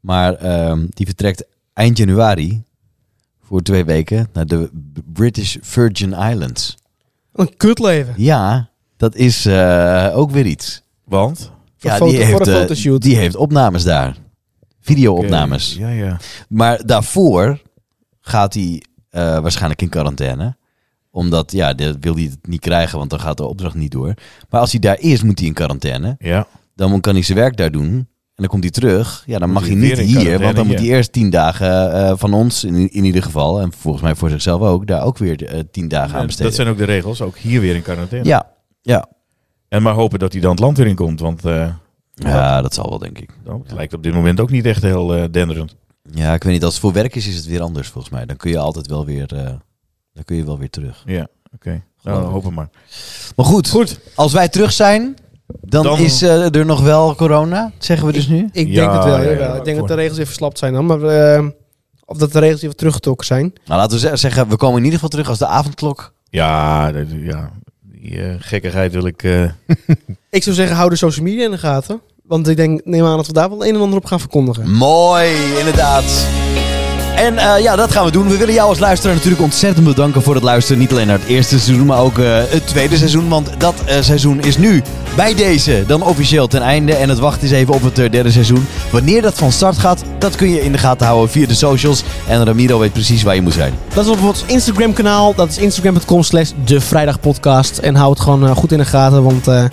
Speaker 1: Maar ehm, die vertrekt eind januari voor twee weken naar de British Virgin Islands.
Speaker 5: Een kutleven.
Speaker 1: Ja, dat is eh, ook weer iets.
Speaker 2: Want?
Speaker 5: Voor
Speaker 1: ja,
Speaker 5: foto-
Speaker 1: die, heeft,
Speaker 5: voor een
Speaker 1: eh,
Speaker 5: fotoshoot.
Speaker 1: die heeft opnames daar. Videoopnames.
Speaker 2: Ja, ja.
Speaker 1: Maar daarvoor gaat hij eh, waarschijnlijk in quarantaine. Omdat, ja, dat wil hij het niet krijgen, want dan gaat de opdracht niet door. Maar als hij daar is, moet hij in quarantaine.
Speaker 2: Ja.
Speaker 1: Dan kan hij zijn werk daar doen. En dan komt hij terug. Ja, dan
Speaker 2: Moet
Speaker 1: mag
Speaker 2: hij
Speaker 1: hij
Speaker 2: weer
Speaker 1: niet
Speaker 2: in
Speaker 1: hier.
Speaker 2: quarantaine,
Speaker 1: Want dan moet
Speaker 2: ja.
Speaker 1: hij eerst tien dagen eh, van ons, in, in ieder geval. En volgens mij voor zichzelf ook, daar ook weer eh, tien dagen aan
Speaker 2: En
Speaker 1: besteden.
Speaker 2: Dat zijn ook de regels. Ook hier weer in quarantaine.
Speaker 1: ja. Ja.
Speaker 2: En maar hopen dat hij dan het land weer in komt. Want eh,
Speaker 1: ja, dat zal wel, denk ik.
Speaker 2: nou, het lijkt op dit moment ook niet echt heel eh, denderend.
Speaker 1: Ja, ik weet niet. Als het voor werk is, is het weer anders volgens mij. Dan kun je altijd wel weer, eh, dan kun je wel weer terug.
Speaker 2: Ja, oké. Nou, hopen maar.
Speaker 1: Maar goed,
Speaker 2: Goed.
Speaker 1: als wij terug zijn, dan,
Speaker 2: Dan-
Speaker 1: is eh, er nog wel corona, zeggen we dus nu.
Speaker 5: Ik
Speaker 2: Ja,
Speaker 5: denk het wel.
Speaker 2: ja, ja,
Speaker 5: jawel.
Speaker 2: ja,
Speaker 5: ik denk
Speaker 2: voor-
Speaker 5: dat de regels weer verslapt zijn dan. Maar, eh, of dat de regels weer teruggetrokken zijn.
Speaker 1: Nou, laten we ze- zeggen, we komen in ieder geval terug als de avondklok.
Speaker 2: Ja, dat- ja. die eh, gekkigheid wil ik... eh,
Speaker 5: Ik zou zeggen, hou de social media in de gaten. Want ik denk, neem aan dat we daar wel een en ander op gaan
Speaker 2: Mm.
Speaker 5: verkondigen.
Speaker 1: Mooi, inderdaad. En eh, ja, dat gaan we doen. We willen jou als luisteraar natuurlijk ontzettend bedanken voor het luisteren. Niet alleen naar het eerste seizoen, maar ook eh, het tweede seizoen. Want dat eh, seizoen is nu bij deze dan officieel ten einde. En het wacht is even op het eh, derde seizoen. Wanneer dat van start gaat, dat kun je in de gaten houden via de socials. En Ramiro weet precies waar je moet zijn.
Speaker 5: Dat is op ons Instagram kanaal. Dat is instagram.com slash de vrijdagpodcast. En hou het gewoon eh, goed in de gaten. Want eh,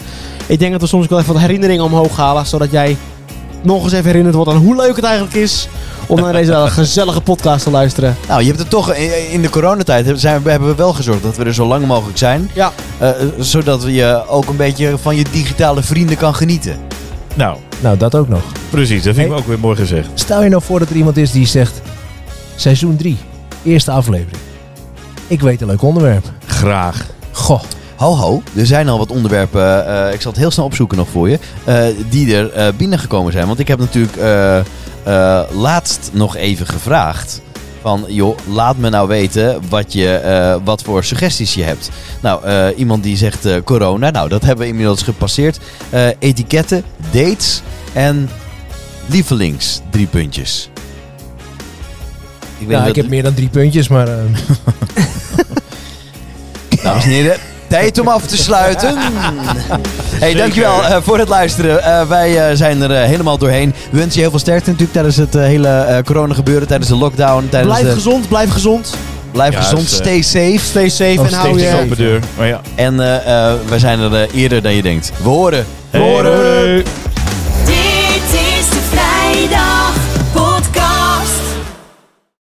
Speaker 5: ik denk dat we soms ook wel even wat herinneringen omhoog halen. Zodat jij nog eens even herinnerd wordt aan hoe leuk het eigenlijk is. Om naar deze gezellige podcast te luisteren.
Speaker 1: Nou, je hebt het toch eh, in de coronatijd hebben- zijn, we- hebben we wel gezorgd dat we er zo lang mogelijk zijn.
Speaker 5: Ja.
Speaker 1: Eh, zodat je ook een beetje van je digitale vrienden kan genieten.
Speaker 2: nou,
Speaker 3: Nou, dat ook nog.
Speaker 2: precies. Dat vind ik ook weer mooi gezegd.
Speaker 3: Stel je nou voor dat er iemand is die zegt... Seizoen 3, eerste aflevering. Ik weet een leuk onderwerp.
Speaker 1: Oh,
Speaker 2: Graag.
Speaker 3: Goh,
Speaker 1: Ho ho, er zijn al wat onderwerpen, eh, ik zal het heel snel opzoeken nog voor je, eh, die er eh, binnengekomen zijn. Want ik heb natuurlijk eh, eh, laatst nog even gevraagd van, joh, laat me nou weten wat, je, eh, wat voor suggesties je hebt. Nou, eh, iemand die zegt eh, corona, nou dat hebben we inmiddels gepasseerd. Eh, etiketten, dates en lievelings, drie puntjes. Ik
Speaker 3: nou, ik
Speaker 1: dat-
Speaker 3: heb meer dan drie puntjes, maar... eh,
Speaker 1: Nou, Dames en heren, tijd om af te sluiten. Hey, dankjewel eh, voor het luisteren. Eh, wij eh, zijn er eh, helemaal doorheen. We wensen je heel veel sterkte natuurlijk tijdens het eh, hele eh, corona gebeuren, tijdens de lockdown. Tijdens
Speaker 5: Blijf
Speaker 1: de-
Speaker 5: gezond, blijf gezond.
Speaker 1: blijf
Speaker 2: Ja,
Speaker 1: gezond,
Speaker 2: dus, eh,
Speaker 1: stay safe.
Speaker 5: Stay safe en hou
Speaker 2: Steeds
Speaker 5: je...
Speaker 2: een open deur. Maar ja.
Speaker 1: En eh, eh, wij zijn er eh, eerder dan je denkt. We horen.
Speaker 2: Hey, doei.